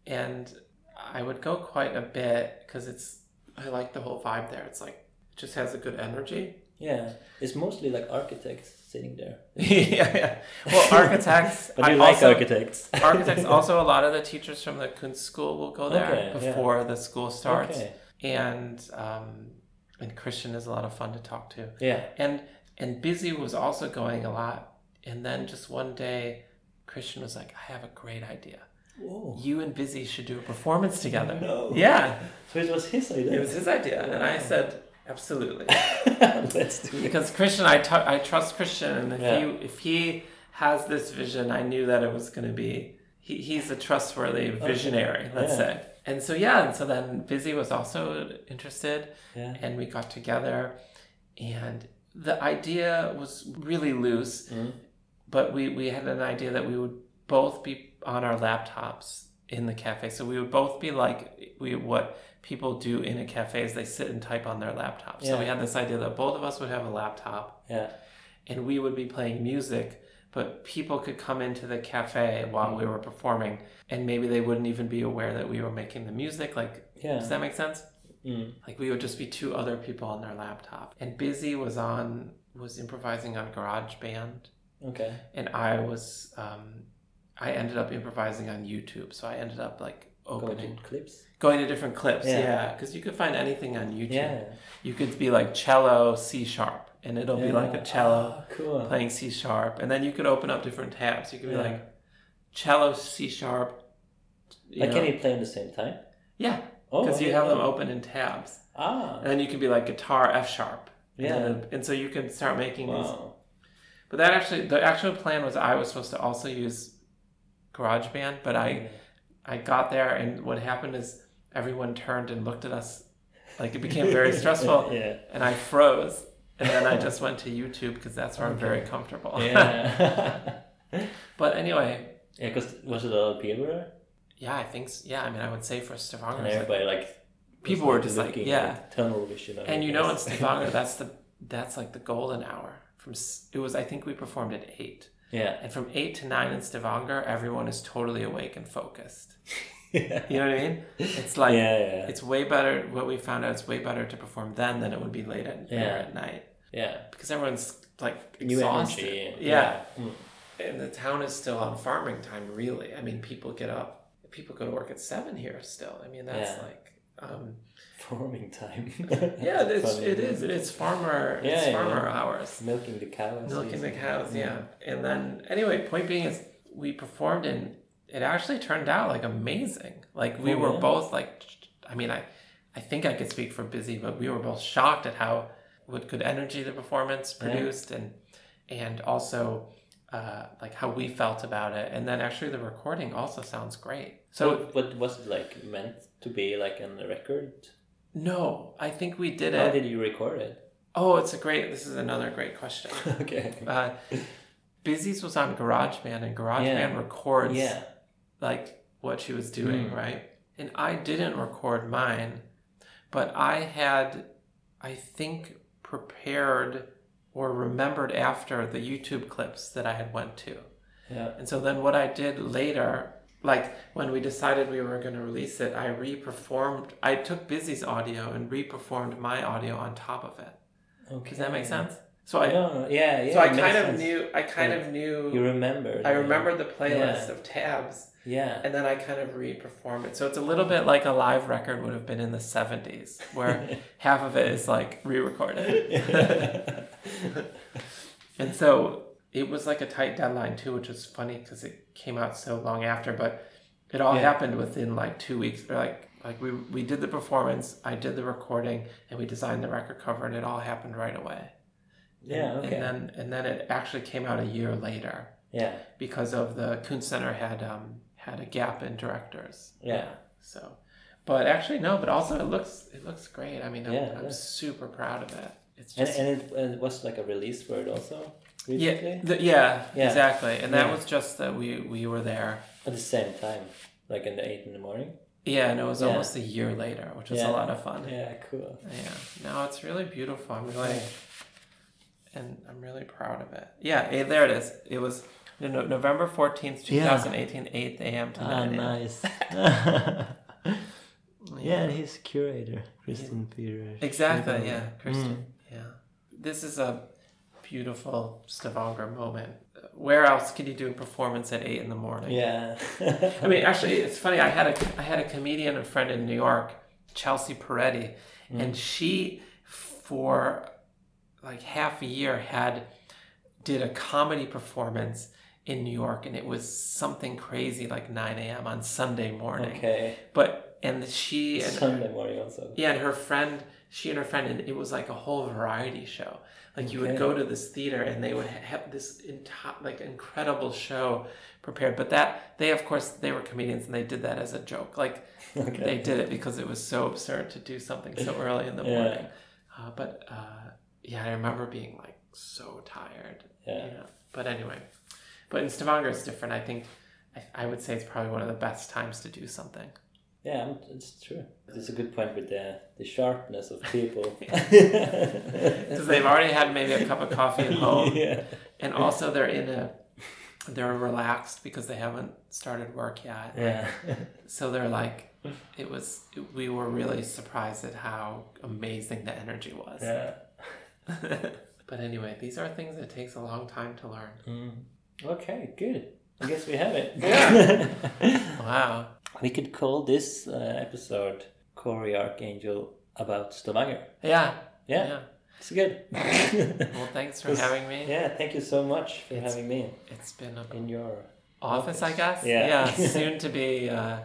and I would go quite a bit because it's I like the whole vibe there. It's like it just has a good energy.
Yeah, it's mostly like architects sitting there.
yeah, yeah. Well, architects.
But you
I
like
also-
architects.
architects. Also, a lot of the teachers from the Kunst School will go there
Okay, yeah.
before the school starts,
Okay.
and um, and Christian is a lot of fun to talk to.
Yeah.
And and Busy was also going a lot, and then just one day, Christian was like, "I have a great idea.
Whoa.
You and Busy should do a performance together."
No.
Yeah,
So it was his idea.
it was his idea, and I said, "Absolutely."
Let's do it.
because Christian, I tu- I trust Christian, and if
Yeah.
he if he has this vision, I knew that it was going to be. He, he's a trustworthy visionary, let's
Oh. Yeah.
say. And so yeah, and so then Busy was also interested,
Yeah.
and we got together, and the idea was really loose,
Mm.
but we we had an idea that we would both be on our laptops in the cafe, so we would both be like we what people do in a cafe is they sit and type on their laptop. So we
Yeah.
had this idea that both of us would have a laptop
Yeah.
and we would be playing music but people could come into the cafe while we were performing and maybe they wouldn't even be aware that we were making the music like
Yeah.
does that make sense
Mm.
like we would just be two other people on their laptop and busy was on was improvising on garageband
Okay.
and i was um i ended up improvising on youtube so i ended up like
Going
opening
to clips.
going to different clips
Yeah.
yeah because you could find anything on youtube
Yeah.
you could be like cello c sharp and it'll be
Yeah.
like a cello
Ah, cool.
playing C sharp, and then you could open up different tabs. You could be
Yeah.
like cello C sharp. you
Like,
know.
can you play in the same time?
Yeah,
Oh,
because you
okay.
have them open in tabs,
Ah.
and then you could be like guitar F sharp. And
Yeah.
then- and so you can start making these.
Wow.
But that actually, the actual plan was I was supposed to also use GarageBand, but I, I got there, and what happened is everyone turned and looked at us, like it became very stressful,
Yeah.
and I froze, and then I just went to YouTube because that's where I'm very comfortable.
Yeah.
but anyway,
yeah. Because was it a lot of people there?
Yeah, I think. s Yeah, I mean, I would say for Stavanger,
And
it's like-
everybody like was,
people were just like,
looking
yeah.
at tunnel vision. I
and you know, in
guess.
Stavanger, that's the that's like the golden hour. From s- it was, I think we performed at eight,
yeah.
and from eight to nine in Stavanger, everyone is totally awake and focused.
yeah.
You know what I mean? It's like
Yeah.
it's way better. What we found out, it's way better to perform then than it would be late at,
Yeah.
at night
Yeah.
because everyone's like
New
exhausted.
energy.
yeah,
Mm.
And the town is still on farming time, really. I mean, people get up, people go to work at seven here still. I mean, that's
Yeah.
like, um,
Farming time.
yeah, it's
Funny.
it is it's farmer it's
Yeah, yeah.
farmer hours,
Milking the cows.
milking the
using-
cows, yeah. And then anyway, point being is we performed and it actually turned out like amazing. Like we
Oh,
were
yeah.
both like, I mean, I I think I could speak for Busy, but we were both shocked at how what good energy the performance produced and and also uh, like how we felt about it. And then actually the recording also sounds great. So
what, what was it like meant to be like on the record?
no, I think we did
How
it.
did you record it?
oh, it's a great. This is another great question.
okay.
Uh, Busy's was on GarageBand, and GarageBand
Yeah.
records
Yeah.
like what she was doing,
Mm.
right? And I didn't record mine, but I had, I think, prepared or remembered after the YouTube clips that I had went to.
Yeah.
And so then what I did later, like when we decided we were going to release it, I re-performed. I took Busy's audio and re-performed my audio on top of it.
Okay.
Does that make sense? So I,
No, no, Hmm. yeah, yeah.
so I
it makes
kind of
sense.
knew. I kind
Yeah.
of knew.
You remember.
I remembered the playlist
Yeah.
of tabs,
Yeah.
and then I kind of re-perform it. So it's a little bit like a live record would have been in the '70s, where half of it is like re-recorded. and so it was like a tight deadline too, which is funny because it came out so long after. But it all
Yeah.
happened within like two weeks, or like like we we did the performance, I did the recording, and we designed the record cover, and it all happened right away.
yeah.
And-
Okay.
And then and then it actually came out a year later
yeah.
because of the Kuhn Center had um, had a gap in directors.
Yeah.
So, but actually no, but also it looks it looks great. I mean, I'm,
Yeah,
I'm
yeah.
super proud of it. It's
And
just
and it, and it was like a release word also
yeah,
recently
th- yeah,
Yeah.
exactly. And that
Yeah.
was just that we we were there.
at the same time, like in the eight in the morning.
Yeah, and it was
Yeah.
almost a year later, which was
Yeah.
a lot of fun. Yeah.
Yeah. Cool.
No, it's really beautiful. I'm really and I'm really proud of it. Yeah, eh, there it is. It was no, no, November 14th,
Yeah. Oh,
2018, 8 a.m. to 9 a.m.
nice.
Yeah,
he's curator, Kristen Peter. Mm.
Exactly. Yeah, Kristen. Yeah. This is a beautiful Stavanger moment. Where else could you do a performance at eight in the morning?
Yeah.
I mean, actually, it's funny. I had a I had a comedian and friend in New York, Chelsea Peretti,
Mm.
and she for like half a year had did a comedy performance in New York, and it was something crazy like nine a.m. on Sunday morning.
okay.
But and she and
Sunday morning also.
yeah, and her friend, she and her friend, and it was like a whole variety show. Like you would
Okay.
go to this theater, and they would ha- have this enti- like incredible show prepared. But that they, of course, they were comedians, and they did that as a joke. Like
Okay.
they did it because it was so absurd to do something so early in the
Yeah.
morning. Uh, but uh, yeah, I remember being like so tired.
Yeah.
You know? But anyway, but in Stavanger it's different. I think I, I would say it's probably one of the best times to do something.
Yeah, I'm- it's true. It's a good point with the, the sharpness of people.
because they've already had maybe a cup of coffee at home,
yeah.
and also they're in a they're relaxed because they haven't started work yet.
Yeah.
So they're like, it was we were really surprised at how amazing the energy was.
yeah.
but anyway, these are things that takes a long time to learn.
Mm. Okay, good. I guess we have it.
Wow.
we could call this uh, episode Corey Archangel about Stavanger.
Yeah.
Yeah, it's good.
Well, thanks for having me.
yeah, thank you so much for
It's-
having me
It's been a
in your.
office, I guess.
Yeah.
soon to be. Uh,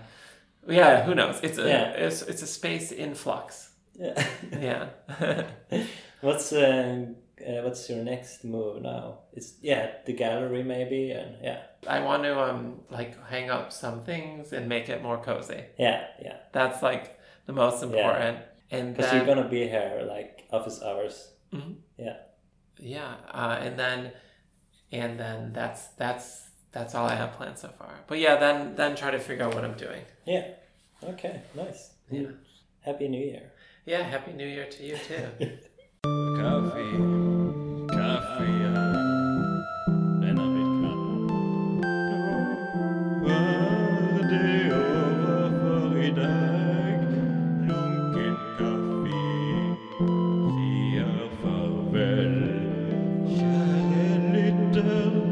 yeah. Who knows? It's a
Yeah.
it's it's a space in flux.
Yeah.
Yeah.
what's uh, uh, what's your next move now? It's yeah, the gallery maybe, and yeah,
I want to um like hang up some things and make it more cozy.
yeah, yeah.
That's like the most important. And
Because
then
you're gonna be here like office hours.
yeah, uh, and then and then that's that's that's all I have planned so far. But yeah, then then try to figure out what I'm doing.
Yeah. Okay. Nice.
Yeah.
Happy New Year.
Yeah, happy new year to you too.
Kaffe. Kaffe, ja. Renner mit kaffe. Var det over for i dag? Lunken kaffe sier farvel. Kjære lytter,